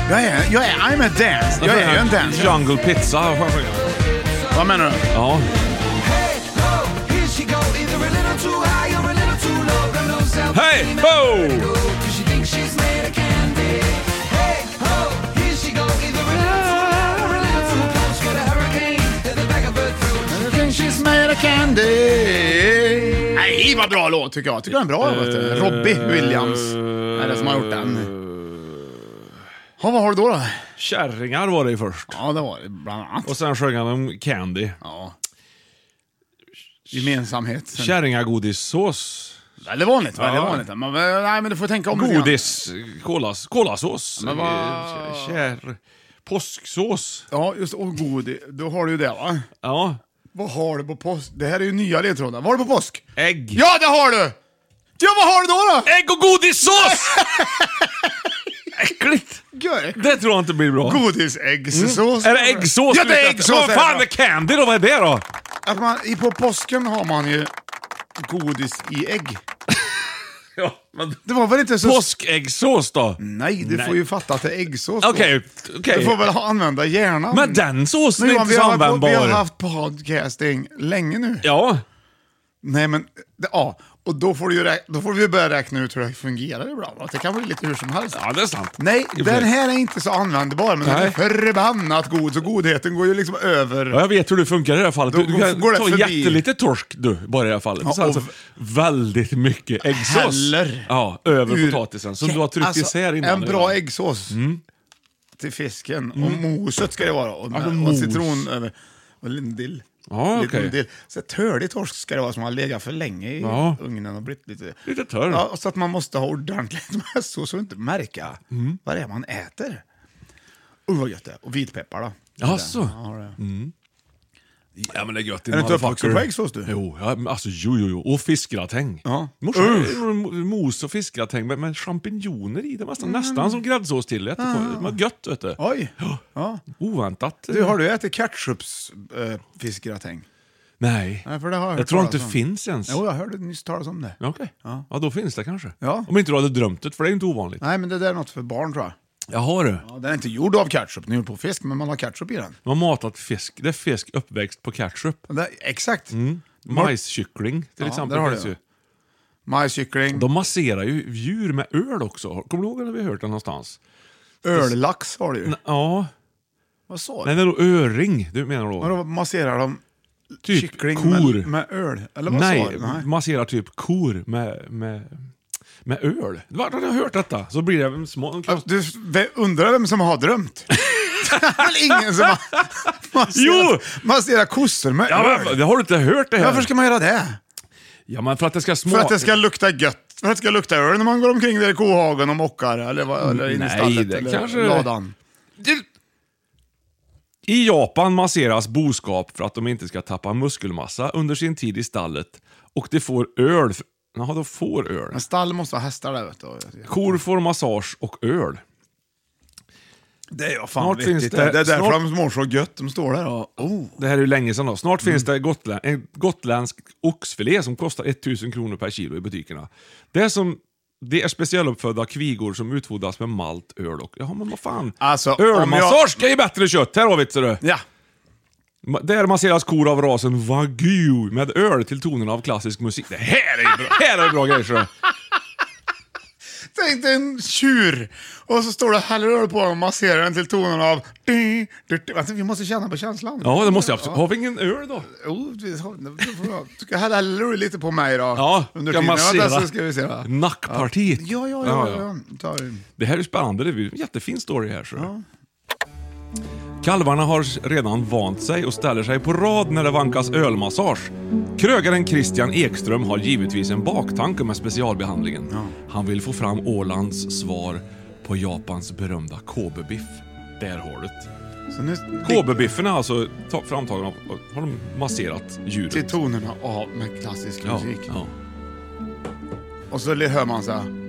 Jag är, jag är, I'm a dance. Jag är ju en dance. Jungle pizza. Vad menar du? Ja. Hey, ho! She's made of candy. Nej, vad bra låt tycker jag. Tycker den är bra. vet du. Robbie Williams eh, är det som har gjort den. Ja, vad har du då? då? Kärringar var det ju först. Ja, det var det bland annat. Och sen sjöng han om Candy. Ja. Gemensamhet. Kärringagodissås. Väldigt vanligt. Väldigt Ja. vanligt. Men, nej, men du får tänka om lite grann. Godis. Kolas, kolasås. Men vad- Eh, Kär... Påsksås. Ja, just och godis. Då har du ju det va? Ja. Vad har du på påsk? Det här är ju nya ledtrådar. Vad har du på påsk? Ägg. Ja, det har du! Ja, vad har du då då? Ägg och godissås! Äckligt! Gör- Det tror jag inte blir bra. Godisäggsås. Mm. Är det äggsås? Ja, du det är letar efter? äggsås! Vad fan är candy då? Vad är det då? Att man, i- På påsken har man ju godis i ägg. Ja, men... Det var väl inte så... Påskäggsås då? Nej, du Nej. får ju fatta att det är äggsås då. Okej, okej. Mm. Du får väl ha- använda hjärnan. Men den såsen Men är Johan, inte vi så har, användbar. vi har haft podcasting länge nu. Ja. Nej, men... Det, ja, och då får, du ju räk- då får vi ju börja räkna ut hur det fungerar ibland. va? Det kan bli lite hur som helst. ja, det är sant. Nej, I och för den sig. här är inte så användbar, men den är Nej. förbannat god, så godheten går ju liksom över. Ja, jag vet hur det funkar i det här fallet. Då Du, du kan går det ta förbi. jättelite torsk du, bara i det här fallet. Ja, Sen så och- väldigt mycket äggsås. Häller. Ja, över Ur- potatisen. Som du har tryckt Alltså, isär innan. En bra redan. äggsås till fisken. Och moset ska det vara. Och, Mm. Ja, och mos. citron över. Och lindill. Ja, Lite okej. lindill. Så törlig torsk ska det vara som har legat för länge i Ja. ugnen och blivit lite... Lite törr. Ja, och så att man måste ha ordentligt med sås så att inte märka Mm. vad det är man äter. Usch vad gött det är. Och vitpeppar då. Jaså? Mm. Ja, det. Ja, men det är gött. din Är du inte motherfucker. uppvuxen på äggsås, du? Jo, ja, men alltså jo, jo, jo. Och fiskgratäng. Ja. Morsan gjorde mos och fiskgratäng med, med champinjoner i. Det var nästan, nästan som gräddsås till. det. Det var gött, vet du. Mm. Ah. Oj! Ja. Oväntat. Du, har du ätit ketchups äh, fiskgratäng? Nej. Nej, för det har jag hört jag tror talas inte det om. finns ens. Jo, jag hörde nyss talas om det. Ja, Okej. Ja. Ja. då finns det kanske. Ja. Om inte du hade drömt det, för det är ju inte ovanligt. Nej, men det där är något för barn tror jag. Jaha du. Ja, den är inte gjord av ketchup, den är gjord på fisk, men man har ketchup i den. De har matat fisk. Det är fisk uppväxt på ketchup. Men det- exakt. Mm. Majskyckling till Ja, exempel. där har finns du ju. det. Majskyckling, De masserar ju djur med öl också. Kommer du ihåg att vi har hört det någonstans? öllax har du ju. Ja. Vad sa du? Nej, det är nog öring du menar då? Vadå, masserar de typ kyckling kor. Med, med öl? Eller vad sa Nej, du? Nej. masserar typ kor med, med, med öl. Var har du hört detta? Så blir det en små... En Ja, Du ve- undrar vem som har drömt? det är väl ingen som har masserat, Jo! masserat kossor med ja, öl? men, har du inte hört det här? Varför ska man göra det? Ja, men för att det ska smaka... För att det ska lukta gött. För att det ska lukta öl när man går omkring där i kohagen och mockar eller, vad- eller inne i Nej, stallet det eller kanske- ladan. I Japan masseras boskap för att de inte ska tappa muskelmassa under sin tid i stallet. Och de får öl. för- Jaha, de får öl. Men stall måste ha hästar där vet du. Kor får massage och öl. Det är jag fan Snart snart finns det, det- det är därför snart- de mår så gött. De står där och... Oh. Det här är ju länge sedan då. Snart finns Mm. det gotlä en gotländsk oxfilé som kostar 1000 kronor per kilo i butikerna. Det är, som, det är specialuppfödda kvigor som utfodras med malt, öl och... Jaha, men vad fan. Alltså, om jag... Ölmassage är ju bättre kött! Här har vi det, ser du. Ja. Ma- Där masseras kor av rasen wagyu med öl till tonerna av klassisk musik. Det här är ju bra, här är ju bra grejer, ser du. Tänk dig en tjur och så står du och häller öl på honom och masserar den till tonen av... Vänta, vi måste känna på känslan. Ja, det måste jag absolut. Har vi ingen öl då? Jo, vi har- det får jag- Ska hälla du lite på mig då? Ja, Under ska tiden jag massera. testar ska vi se. va? Nackpartiet. Ja, ja, ja. ja, ja. Ta det. Det här är ju spännande. Det är ju en jättefin story här. Så. Kalvarna har redan vant sig och ställer sig på rad när det vankas ölmassage. Krögaren Christian Ekström har givetvis en baktanke med specialbehandlingen. Han vill få fram Ålands svar på Japans berömda KB-biff. Där har du Så nu KB-biffen är alltså ta- framtagen av... Har de masserat djuret? till tonerna av med klassisk ja, musik. ja. Och så hör man så här.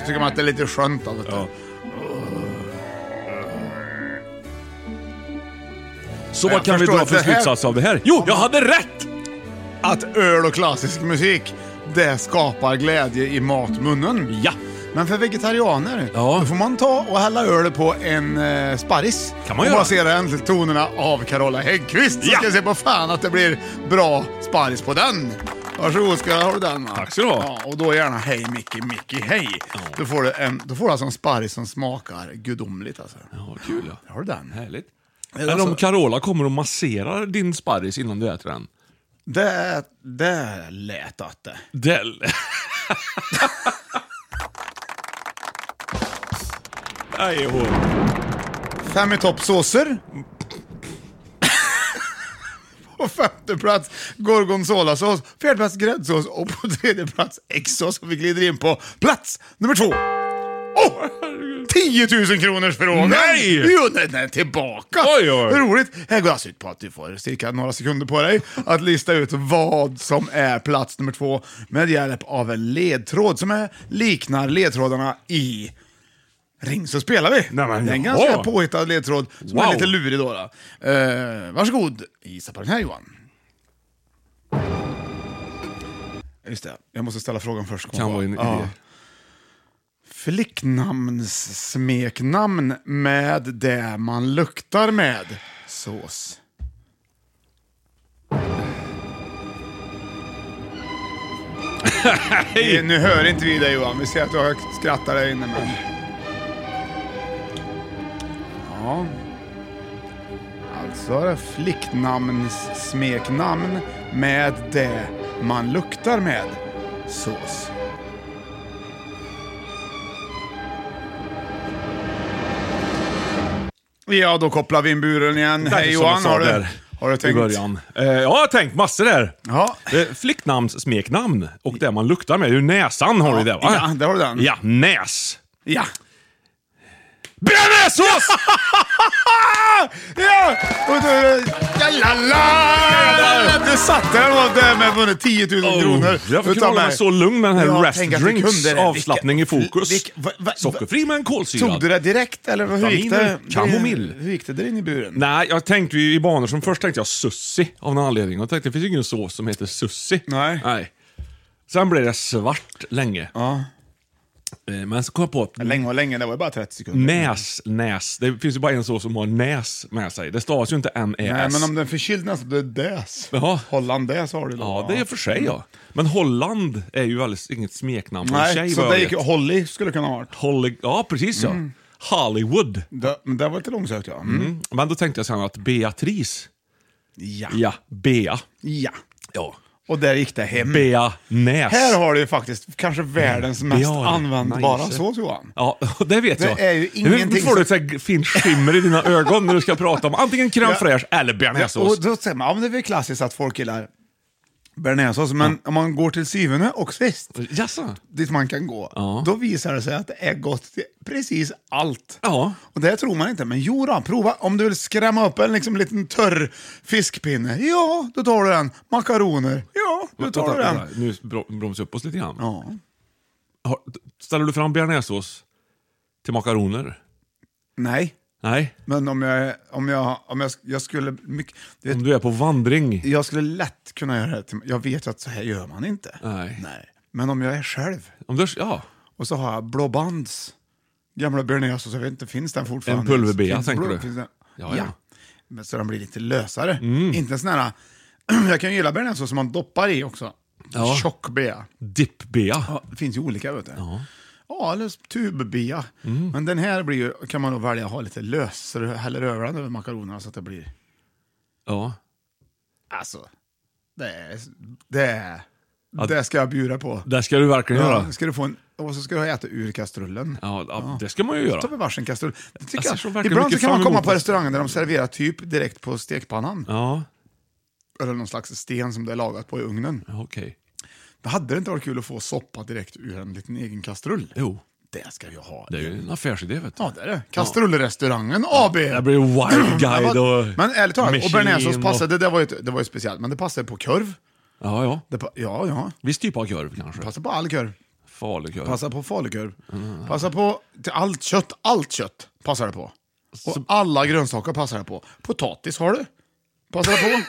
Så tycker man att det är lite skönt då, vet du. Så Jag vad kan vi förstår dra att för det här- slutsats av det här? Jo, jag hade rätt! Att öl och klassisk musik, det skapar glädje i matmunnen. Ja! Men för vegetarianer, Ja. då får man ta och hälla öl på en eh, sparris. Kan man och göra. basera den till tonerna av Carola Häggkvist. Så Ja. ska jag se på fan att det blir bra sparris på den. Varsågod ska jag ha den. va? Tack ska du ha. Ja, och då gärna hej Micke, Micke, hej. Då, får du en, då får du alltså en sparris som smakar gudomligt alltså. Ja, kul ja. Har du den? Härligt. Det är Eller om alltså- Carola kommer och masserar din sparris innan du äter den. Det, det lät att det. Dell. Nej, hon. Fem i toppsåser. på femte plats gorgonzolasås, fjärde plats gräddsås och på tredje plats äggsås. Och vi glider in på plats nummer två. Oh! 10 000 kronors frågan! Nej! Jo, den är tillbaka! Oj, oj. Hur roligt! Här går alltså ut på att du får cirka några sekunder på dig att lista ut vad som är plats nummer två med hjälp av en ledtråd som är, liknar ledtrådarna i Ring så spelar vi. Nej, men det är en jaha. ganska påhittad ledtråd som är Wow. lite lurig då. då. Eh, varsågod, gissa på den här Johan. Just det, jag måste ställa frågan först. kom Kan på. vara en idé. Flicknamns smeknamn med det man luktar med. Sås. Eh, Nu hör inte vi dig Johan, vi ser att du har skrattar där inne men... Ja. Alltså är det flicknamns smeknamn med det man luktar med. Sås. Ja, då kopplar vi in buren igen. Därför Hej som jag Johan, sa har du, där har du I tänkt? början. Eh, ja, jag har tänkt massor där. Ja. Eh, flicknamns smeknamn och det man luktar med. Det är ju näsan har du där va? Ja, där har du den. Ja, näs. Ja. Bearnaisesås! Ja! Och du... Ja, la, la! Du satte den och därmed vunnit 10 000 Oh, kronor. Jag fick utav hålla mig mig. så lugn med den här Ja, rest tänk att du drinks kunde det. avslappning i Vilka- fokus. vilk- va- va- Sockerfri men kolsyrad. Tog du det direkt eller hur gick det? Vitaminer, kamomill. Hur gick det där inne i buren? Nej, jag tänkte ju i banor som först tänkte jag sussi av någon anledning. Jag tänkte det finns ju ingen sås som heter sussi. Nej. Sen blev det svart länge. Eh, Men så kom jag på att Länge och länge, det var ju bara 30 sekunder. näs, näs. Det finns ju bara en sås som har näs med sig. Det stavas ju inte E Nej, N-E-S. men om den förkyldes så blir det däs. Jaha. Hollandaise har du då. Ja, det är för sig ja. Men Holland är ju alldeles inget smeknamn för en tjej Nej, vad så jag det gick, Mm. vet. Holly skulle kunna ha varit. Holly, ja, precis ja. Hollywood. Det, men det var lite långsökt ja. Mm. Mm. Men då tänkte jag sen att Beatrice, Ja. ja, Bea. Ja. Ja. Och där gick det hem. Bea Näs. Här har du ju faktiskt kanske världens mest Bea användbara Mm. Nice. sås Johan. Ja, och det vet Det jag. är ju Nu ingenting får du som- ett så här fint skimmer i dina ögon när du ska prata om antingen crème Ja. fraîche eller bearnaisesås. Och då säger man, ja men det är väl klassiskt att folk gillar bearnaisesås, men om man går till syvende och sist, dit man kan gå, då visar det sig att det är gott till precis allt. Och det tror man inte, men jo då, prova. Om du vill skrämma upp en liksom, liten törr fiskpinne, ja, då tar du den. Makaroner, ja, då tar du Vänta, den. vänta, Nu bro- bromsar upp oss lite grann. Har- Ställer du fram bearnaisesås till makaroner? Nej. Nej. Men om jag, om jag, om jag, jag skulle... Mycket, du vet, Om du är på vandring? Jag skulle lätt kunna göra det. till- Jag vet att så här gör man inte. Nej. Men om jag är själv. Om du, ja. Och så har jag Blå Bands gamla bearnaisesås, jag vet inte, finns den fortfarande? En pulverbea, Finns tänker blå- du? finns den? Ja, Mm. ja. Ja. Men Så den blir lite lösare. Inte en sån här... Jag kan ju gilla bearnaisesås som man doppar i också. Ja. Tjock bea. Dipp-bea. Ja, det finns ju olika vet du. Ja. eller tubbea. Mm. Men den här blir ju, kan man nog välja att ha lite lös, så du häller över den över makaronerna så att det blir... Ja. Alltså, det är... Det, är, det ska jag bjuda på. Det ska du verkligen göra. Ja, ska du få en, och så ska du äta ur kastrullen. Ja, ja, det ska man ju göra. Så tar vi varsin kastrull. Det tycker Alltså, så jag, verkar ibland så mycket kan man fram emot komma på det. restauranger där de serverar typ direkt på stekpannan. Ja, Eller någon slags sten som det är lagat på i ugnen. okej. Det hade det inte varit kul att få soppa direkt ur en liten egen kastrull? Jo, Det ska vi ha. det är ju en affärsidé vet du. Ja, det är det. Kastrullrestauranden AB. Det blir wild guide Men vad- och... Men ärligt talat, och Michelin bearnaisesås och- passade, det, där var ju, det var ju speciellt, men det passade på korv. Ja, ja. Det, pa- ja, ja. Viss typ av korv kanske. Passar på all korv. Falukorv. Passar på falukorv. Mm. Passar på till allt kött. Allt kött passar det på. Och alla grönsaker passar det på. Potatis har du. Passar det på.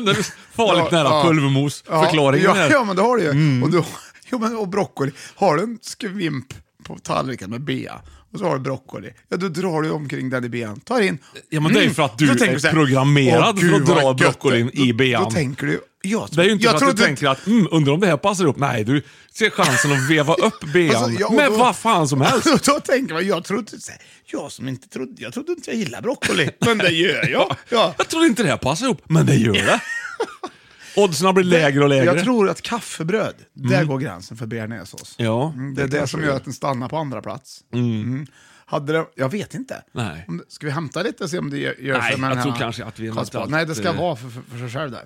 Det är Farligt Ja, nära ja. pulvermos. Förklaringen ja, är... Mm. ja, men det har du ju. Och, du, jo, men, och broccoli. Har du en skvimp på tallriken med bea och så har du broccoli, ja då drar du omkring den i bean, tar in. Mm. Ja, men det är ju för att du Då tänker är så här, programmerad "Åh, gud, för att dra vad gött broccolin det." i bean. Då, då tänker du, jag, Det är ju inte jag för att du trodde- tänker att mm, undrar om det här passar ihop. Nej, du ser chansen att veva upp bean Alltså, ja, och med då- vad fan som helst. Och då tänker man, jag trodde, så här, jag som inte trodde, jag trodde inte jag gillade broccoli, men det gör jag. Ja. Jag trodde inte det här passade ihop, men det gör det. Oddsen blir lägre och lägre. Mm. Jag tror att kaffebröd, där går gränsen för bearnaisesås. Ja, Mm, det är det, som gör att den stannar på andra plats. Mm. Hade det, jag vet inte. Nej. Om, det- ska vi hämta lite och se om det gör gör Nej, sig med jag den tror här kanske att vi har Karlsbad? allt, Nej, det ska eh, vara för, för, för sig själv där.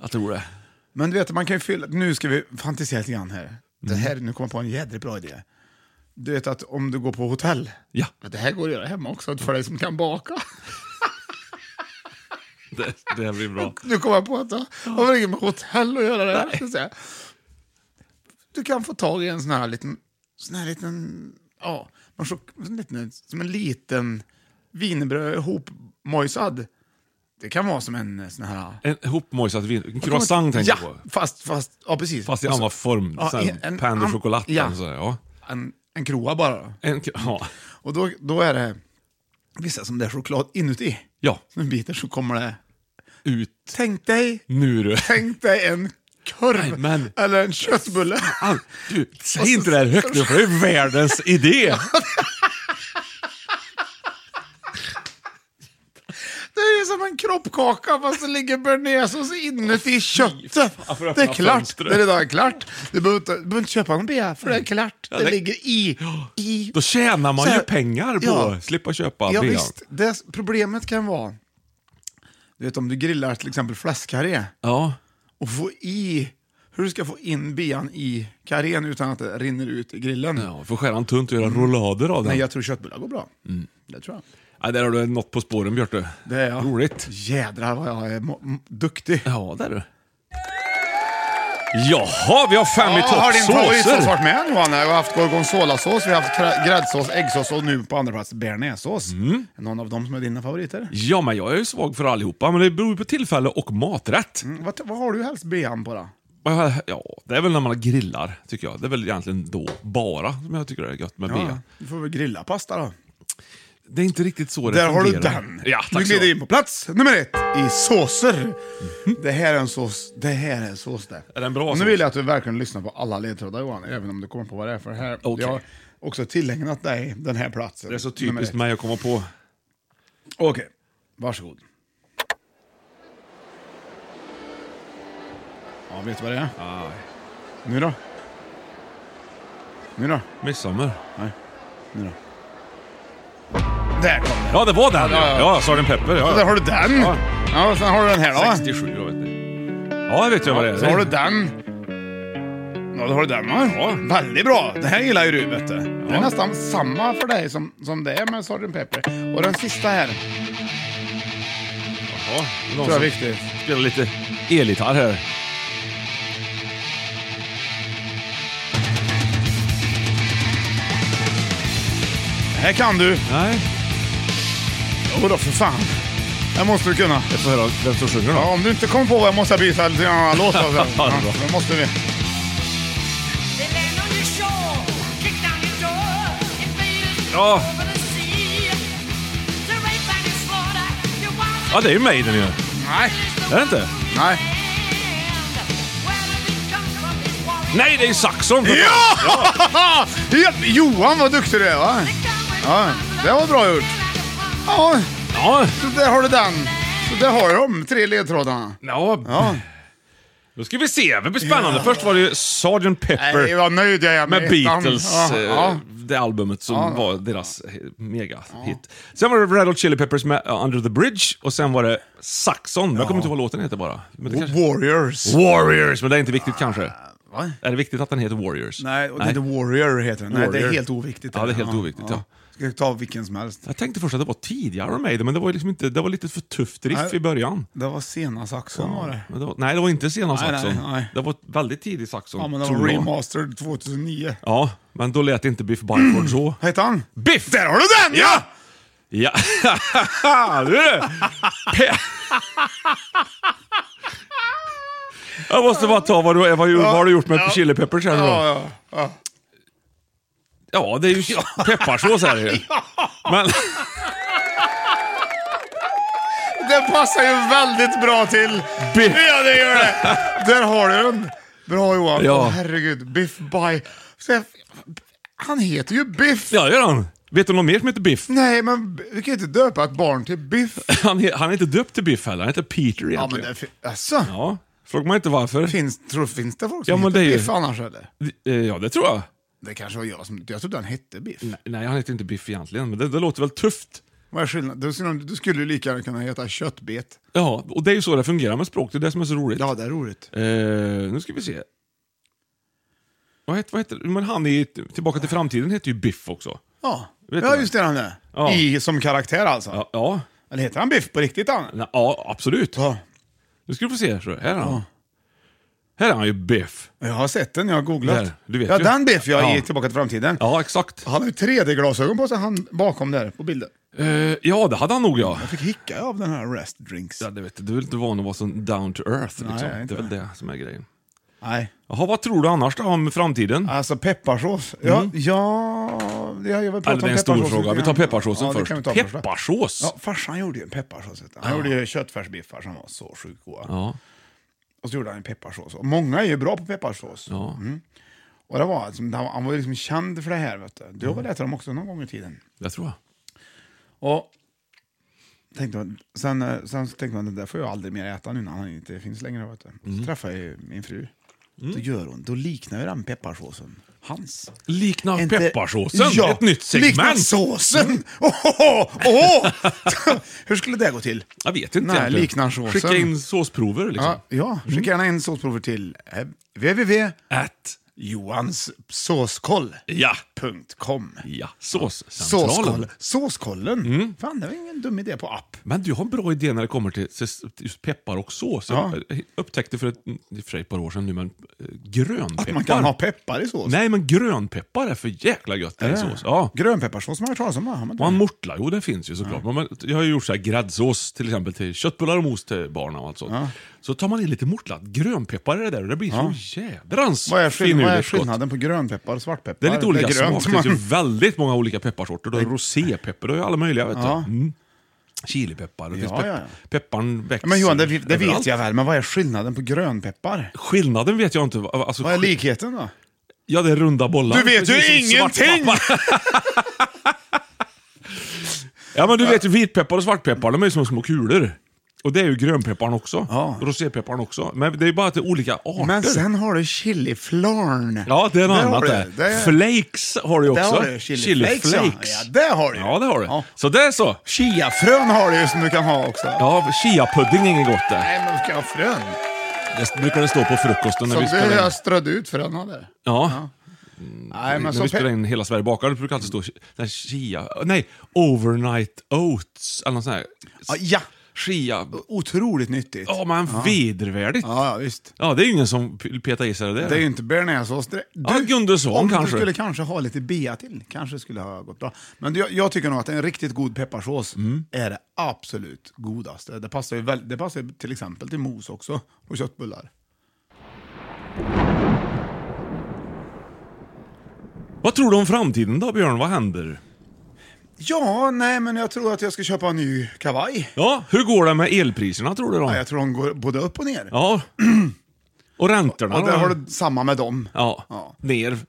Jag tror det. Men du vet, man kan ju fylla... Nu ska vi fantisera lite grann här. Det Mm. här nu kommer jag på en jädrigt bra idé. Du vet att om du går på hotell, Ja. det här går att göra hemma också för dig som kan baka. Det, det blir bra. Nu kommer jag på att det har väl inget med hotell att göra det här. så att säga. Du kan få tag i en sån här liten, sån här liten, ja, man så, sån liten, som en liten wienerbröd hopmojsad. Det kan vara som en sån här... En hopmojsad vin. En croissant tänker jag ja, på. fast, fast, ja precis. Fast i Och så- annan form. Ja, Ja, en- en- Pain de an- chocolat. ja. eller Så, här, ja. En, en kroa bara. då. En, ja. Och då, då är det vissa som det är choklad inuti. ja, Som en biter så kommer det... ut Tänk dig, nu du. tänk dig en korv Nej, men- eller en köttbulle. Fan, du, säg inte det här högt nu för det är ju världens idé. Det är som en kroppkaka fast det ligger bearnaisesås inuti köttet. fan, för att Det är öppna klart. fönstret. Det är redan klart. Du behöver inte, du behöver inte köpa någon bea för det är klart. Ja, det, det- ligger i. i. Då tjänar man Så här- ju pengar på Ja. att slippa köpa Ja, bean. visst. Det, problemet kan vara, du vet om du grillar till exempel fläskkarré Ja, och få i, hur du ska få in bean i karrén utan att det rinner ut i grillen. ja får skära den tunt och göra rullader av den. Men Mm. jag tror köttbullar går bra. Mm. Det tror jag. Ja, där har du något på spåren, Björte. Det är jag. Roligt. Jädrar vad jag är mo- m- duktig. Ja, där du. Jaha, vi har fem i Ja, har din favoritsås toppsåser. varit med Johan? Vi har haft gorgonzolasås, vi har haft krä- gräddsås, äggsås och nu på andra plats bearnaisesås. Är någon av dem som är dina favoriter? Mm. Ja, men jag är ju svag för allihopa, men det beror ju på tillfälle och maträtt. Mm, Vad, vad har du helst bean på då? Ja, det är väl när man grillar, tycker jag. Det är väl egentligen då bara som jag tycker det är gött med bea. Du får väl grilla pasta då. Det är inte riktigt så det Där har du fungerar. den! Ja, nu tack så. glider in på plats nummer ett i såser. Det här är en sås, det här är en sås det. Är den bra Och nu sås? vill jag att du verkligen lyssnar på alla ledtrådar Johan, även om du kommer på vad det är. För här, Okej. Jag har också tillägnat dig den här platsen. Det är så nummer ett. typiskt mig att komma på. Okej, varsågod. Ja, vet du vad det är? Nu då? Nu då? Midsommar. Nej. Nu då? Där kom den. Ja, det var den ja. Ja, Sgt. Pepper. Ja, Så där har du den. Ja. Ja. och sen har du den här då. 67 då vet ni. Ja, det vet jag vad det är. Så har du den. Ja, då har du den va? Väldigt bra. Det här gillar ju du vet du. Det är nästan samma för dig som, som det är med Sgt. Pepper. Och den sista här. Ja, någon Tror jag är som viktigt. Spelar lite elgitarr här. Det här kan du. Nej. Jo då för fan. Det måste du kunna. Jag får höra vem som sjunger Ja, då. om du inte kommer på vad jag måste jag byta till en annan låt. Alltså. Ja, det Ja, är bra. då måste vi. Ja. Ja, det är ju Maiden ju. Nej. Är Er det inte? Nej. Nej, det er är ju Saxon! för Ja! fan. ja! Johan vad duktig du är va? Ja, det var bra gjort. Ja, Ja. så där har du den. Så där har du de tre ledtrådarna. Ja. Ja. Då ska vi se. Det blir spännande. Först var det ju Sgt. Nej, Pepper vad nöjd jag är med, med ettan. Beatles. Ja, eh, ja. Det albumet som Ja. var deras mega-hit. Sen var det Red Hot Chili Peppers med uh, Under the Bridge. Och sen var det Saxon. Jag kommer inte ihåg vad låten heter bara. Men det kanske... Warriors. Warriors, men det är inte viktigt kanske. Va? Är det viktigt att den heter Warriors? Nej, och det är inte Warrior heter den. Nej, det är Warrior. helt oviktigt. Ja, det är helt oviktigt, ja. Ska jag ta vilken som helst. Jag tänkte först att det var tidigare Maiden, men det var, ju liksom inte, det var lite för tufft riff Nej. i början. Det var sena saxon var det. Men det var, nej, det var inte sena Nej, nej, Saxon. nej. Det var väldigt tidig Saxon. Ja, men det tror var jag. remastered 2009. Ja, men då lät inte Biff Byford så. Vad heter han? Biff! Där har du den ja! Ja, du! Pe- Jag måste bara ta vad du, vad, du, vad har du gjort med Chili Peppers här nu då? Ja, ja. Ja, det är ju pepparsås här ju. Men, Den passar ju väldigt bra till. Biff. Ja, det gör det. Där har du den. Bra Johan. Ja. Åh, herregud. Biff by... Så- Han heter ju Biff. ja, det gör han. Vet du någon mer som heter Biff? Nej, men vi kan ju inte döpa ett barn till Biff. Han, he, han är inte döpt till Biff heller, han heter Peter Ja, men egentligen. det... fi- Alltså, Ja, frågar man inte varför. finns, tror, finns det folk Ja, som men heter det är ju- Biff annars eller? Eh, Ja, det tror jag. Det kanske var jag som... Jag trodde han hette Biff. Nej, han heter inte Biff egentligen, men det, det låter väl tufft. Vad är skillnaden? Du skulle- Du skulle ju lika gärna kunna heta Köttbet. Ja, och det är ju så det fungerar med språk, det är det som är så roligt. Ja, det är roligt. Eh, nu ska vi se. Vad heter, vad heter Men han i Tillbaka till framtiden heter ju Biff också. Ja, Vet ja du? just det han är. Ja. I som karaktär alltså. Ja, ja, Eller heter han Biff på riktigt han? Na- ja absolut. Ja. Nu ska du få se. så Här är han. Här är han ju Biff. Jag har sett den, jag har googlat. Där, du vet ja, ju. den Biff jag Ja. i Tillbaka till framtiden. Ja, exakt. Han har ju 3D-glasögon på sig, han bakom där på bilden. Eh, ja, det hade han nog ja. Jag fick hicka av den här Rest Drinks. ja det vet, du, du är väl inte van att vara så down to earth liksom. Nej, jag är det inte är väl det som är grejen. Nej. Jaha, vad tror du annars då om framtiden? Alltså pepparsås. Ja, ja, ja jag vill prata Eller Mm. Alltså, det är en om stor pepparsås fråga. lite Vi grann. tar pepparsåsen Ja, det först. kan vi ta först. då. Pepparsås? Ja, farsan gjorde ju en pepparsås. vet du. Han gjorde ju köttfärsbiffar som var så sjukt goda. Ja. Och så gjorde han en pepparsås. Och många är ju bra på pepparsås. Mm. Och det var, liksom, han var- han var ju liksom känd för det här. Vet du. du har väl ätit dem också någon gång i tiden? det tror jag. Och tänkte man, sen, eh, sen så tänkte man, det där får jag aldrig mer äta nu när han inte finns längre. Vet du. Så träffade jag ju min fru. Då gör hon, då liknar ju den pepparsåsen hans. Likna Inte- pepparsåsen? Ja, Ett nytt Liknar segment? Mm. såsen! Ohoho, oho. Hur skulle det gå till? Jag vet inte Nej, egentligen. liknar såsen. Skicka in såsprover liksom. Ja, ja skicka gärna in såsprover till eh, www At. johanssåskoll.com. Ja. Ja. Såscentralen. Såskoll. Såskollen. Mm. Fan, det var ingen dum idé på app. Men du har en bra idé när det kommer till ses- just peppar och sås. Jag upptäckte för ett, i och för sig ett par år sedan nu, men eh, grönpeppar. Att man kan ha peppar i sås. Nej, men grönpeppar är för jäkla gött i sås. Ja. Grönpepparsås har jag hört talas om. va? Har man inte? Man mortlar, jo det finns ju såklart. Men Man, jag har ju gjort så här gräddsås till exempel till köttbullar och mos till barnen och allt sånt. Så tar man in lite mortlat grönpeppar i det där och det blir så jädrans Vad är, skill- vad är finurligt gott. skillnaden på grönpeppar och svartpeppar? Det är lite olika grönt, smaker. typ. Det finns man- ju väldigt många olika pepparsorter. Du har rosépeppar, du har ju alla möjliga. Vet Ja. du. Mm. Chilipeppar, det finns Ja, pepp- ja, pepparn växer. Men Johan, det, det överallt. vet jag väl, men vad är skillnaden på grönpeppar? Skillnaden vet jag inte. Alltså, Vad är likheten då? Ja, det är runda bollar. Du vet ju Precis som ingenting! svartpeppar. ja, men du vet ju vitpeppar och svartpeppar, de är ju som små kulor. Och det är ju grönpepparn också. Rosépepparn också. Men det är bara att det är olika arter. Men sen har du chiliflarn. Ja, det är något Där har annat du det. det. Där- Flakes har du ju Där också. har du chili flakes, ja. Ja, det har du Ja, det har du. Så det är så. Chiafrön har du ju som du kan ha också. Ja, chiapudding är inget gott det. Nej, men ska jag ha frön? Det brukar det stå på frukosten när Så vi det spelar in. jag strödde ut fröna där. Ja. Nej, när men vi så... spelar Pe- in Hela Sverige bakar, det brukar alltid stå där chia... Nej, overnight oats eller något sånt här. ja. Chia... Otroligt nyttigt. Ja, men Ja. vidervärdigt. Ja, ja, visst. Ja, det är ju ingen som p- petar i sig det där. Det är ju inte bearnaisesås direkt. Ja, Gunderson Om kanske. du skulle kanske ha lite bea till, kanske skulle ha gått bra. Men jag, jag tycker nog att en riktigt god pepparsås är det absolut godaste. Det passar ju, väl, det passar ju till exempel till mos också, och köttbullar. Vad tror du om framtiden då, Björn? Vad händer? Ja, nej, men jag tror att jag ska köpa en ny kavaj. Ja, hur går det med elpriserna tror du då? Ja, jag tror de går både upp och ner. Ja. Och räntorna Och där då? har du samma med dem. Ja. Ner, upp.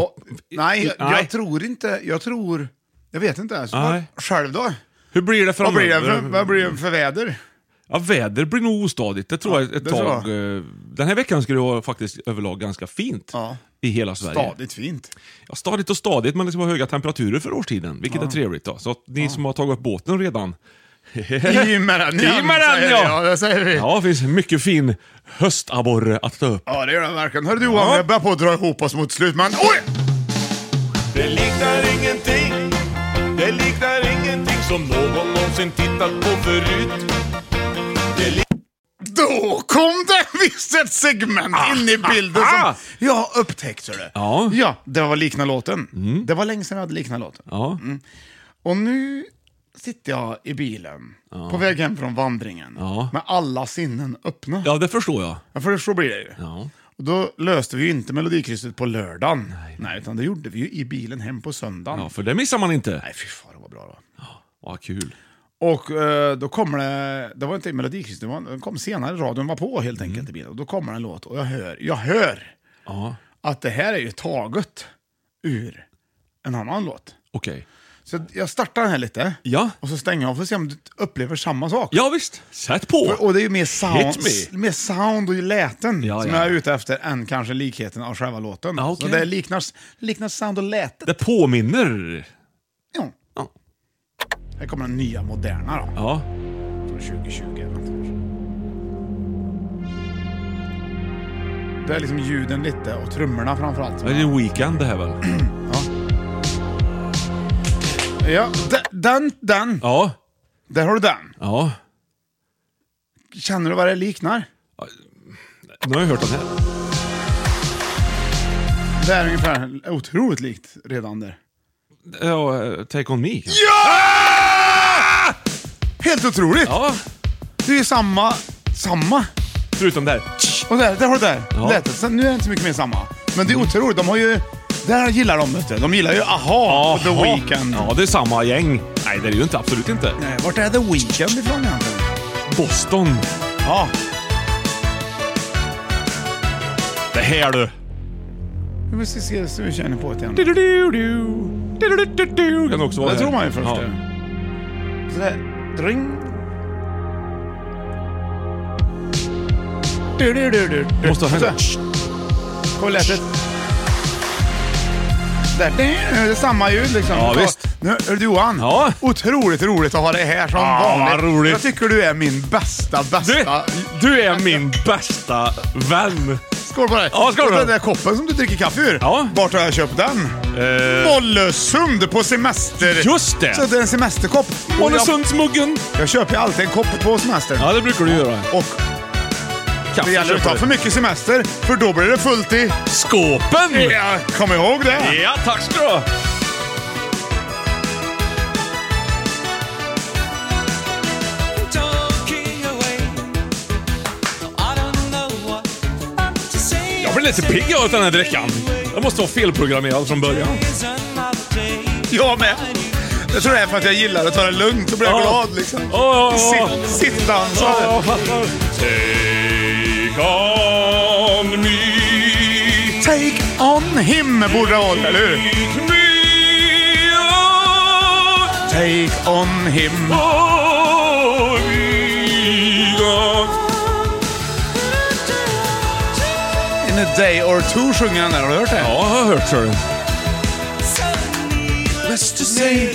Och, nej, jag, Nej. jag tror inte, jag tror, jag vet inte. Så Nej. Själv då? Hur blir det Vad blir, framöver? det för, vad blir det för väder? Ja, väder blir nog ostadigt, det tror jag ett det tror tag. Eh, Den här veckan skulle det vara faktiskt överlag ganska fint i hela Sverige. Stadigt fint. Ja, stadigt och stadigt, men det ska vara höga temperaturer för årstiden, vilket är trevligt. Då. Så att ni som har tagit upp båten redan... I med den, ja, I med den, säger vi. Ja, ja! det säger vi. Ja, det finns mycket fin höstabborre att ta upp. Ja, det gör den verkligen. Hörru du Johan, jag börjar på att dra ihop oss mot slut, men oj! Det liknar ingenting Det liknar ingenting som någon någonsin tittat på förut Det li- Då kom det visst ett segment in i bilden som jag har upptäckt. ser du. Ah, Ja. Mm. ja, det var likna låten. Det var länge sedan jag hade likna låten. Ja. Mm. Och nu sitter jag i bilen på väg hem från vandringen Ja. med alla sinnen öppna. ja, det förstår jag. Ja, för så blir det ju. Ja. Och då löste vi ju inte Melodikrysset på lördagen. Nej. utan det gjorde vi ju i bilen hem på söndagen. ja, för det missar man inte. Nej, fy fan, det var bra då. Vad kul. Och eh, då kommer det, det var inte Melodikrysset, det var- den kom senare, radion var på helt enkelt i bilen. Och då kommer en låt och jag hör, jag hör Mm. Ja, att det här är ju taget ur en annan låt. okej. Så jag startar den här lite Ja. och så stänger jag av för att se om du upplever samma sak. ja, visst. Sätt på! För, och det är ju mer sound, Hit me. mer sound och ju läten Ja, som ja. jag är ute efter än kanske likheten av själva låten. Ja, Så okej. det liknar, liknar sound och läte. Det påminner. Ja. Ja. Här kommer den nya moderna då, Ja. från 2020. eller något kanske. Det är liksom ljuden lite och trummorna framförallt. Det är en weekend det här väl? Ja, de- den, den. Ja. Där har du den. Ja. Känner du vad det liknar? Nu har jag hört den här. Det är ungefär otroligt likt redan där. Ja, eh, Take On Me kanske? Helt otroligt! Ja! Det är ju samma, samma. Förutom där. Och där, där har du där. Ja. Mm. Lätet. Sen, nu är det inte så mycket mer samma. Men det är otroligt, de har ju... Där gillar de vet du. De gillar ju AHA och The Aha. Weeknd. Ja, det är samma gäng. Nej, det är det ju inte. Absolut inte. Nej, Vart är The Weeknd ifrån egentligen? Boston. Ja. Det här du. Vi måste se så vi känner på det igen. Du-du-du-du. Du-du-du-du-du. Kan också vara Det här. tror man ju först. Ja. Ja. Sådär. Dring. Du, du, du, du, du. Måste ha Sådär. hänt. Kolla lätet. Där. Det är samma ljud liksom. Ja, visst. Nu, hörru du, Johan, Ja. otroligt roligt att ha dig här som Ja, vad vanligt. roligt. Jag tycker du är min bästa, Du, bästa... du är min bästa vän. Skål på dig! Ja, skål Och på dig. Den där koppen som du dricker kaffe ur, Ja. vart har jag köpt den? Eh, Mollösund på semester! Just det. Så det är en semesterkopp. Och Mollösundsmuggen. Jag, jag köper ju alltid en kopp på semestern. Ja, det brukar du göra. Och det gäller att köper ta du. för mycket semester, för då blir det fullt i... Skåpen! Ja, kom ihåg det! Mm. Ja, tack ska du ha. Jag blir lite pigg av den här drickan. Jag måste vara felprogrammerad från början. Jag med! Jag tror det är för att jag gillar att ta det lugnt, så blir jag Ja. glad liksom. Åh, åh, åh. Sitt, sitta, så. Ja, jag fattar. Take on me. Take on him borde det vara, eller hur? Take me on. Take on him. Oh, me. day or two sjunger han där. Har du hört det? Ja, jag har hört Sören. Let's just say...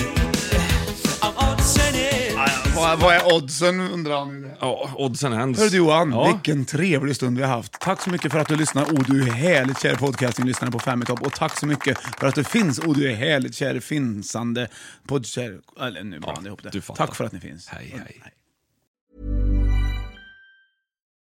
Vad, vad är oddsen undrar han nu. Ja, oddsen hands. Hör du Johan, Ja. vilken trevlig stund vi har haft. Tack så mycket för att du lyssnar. Oh, du är härligt kär podcasting-lyssnare på Fem i topp. Och tack så mycket för att du finns. Oh, du är härligt kär finsande poddkär... Eller nu blandade jag ihop det. du fattar. tack för att ni finns. Hej, hej.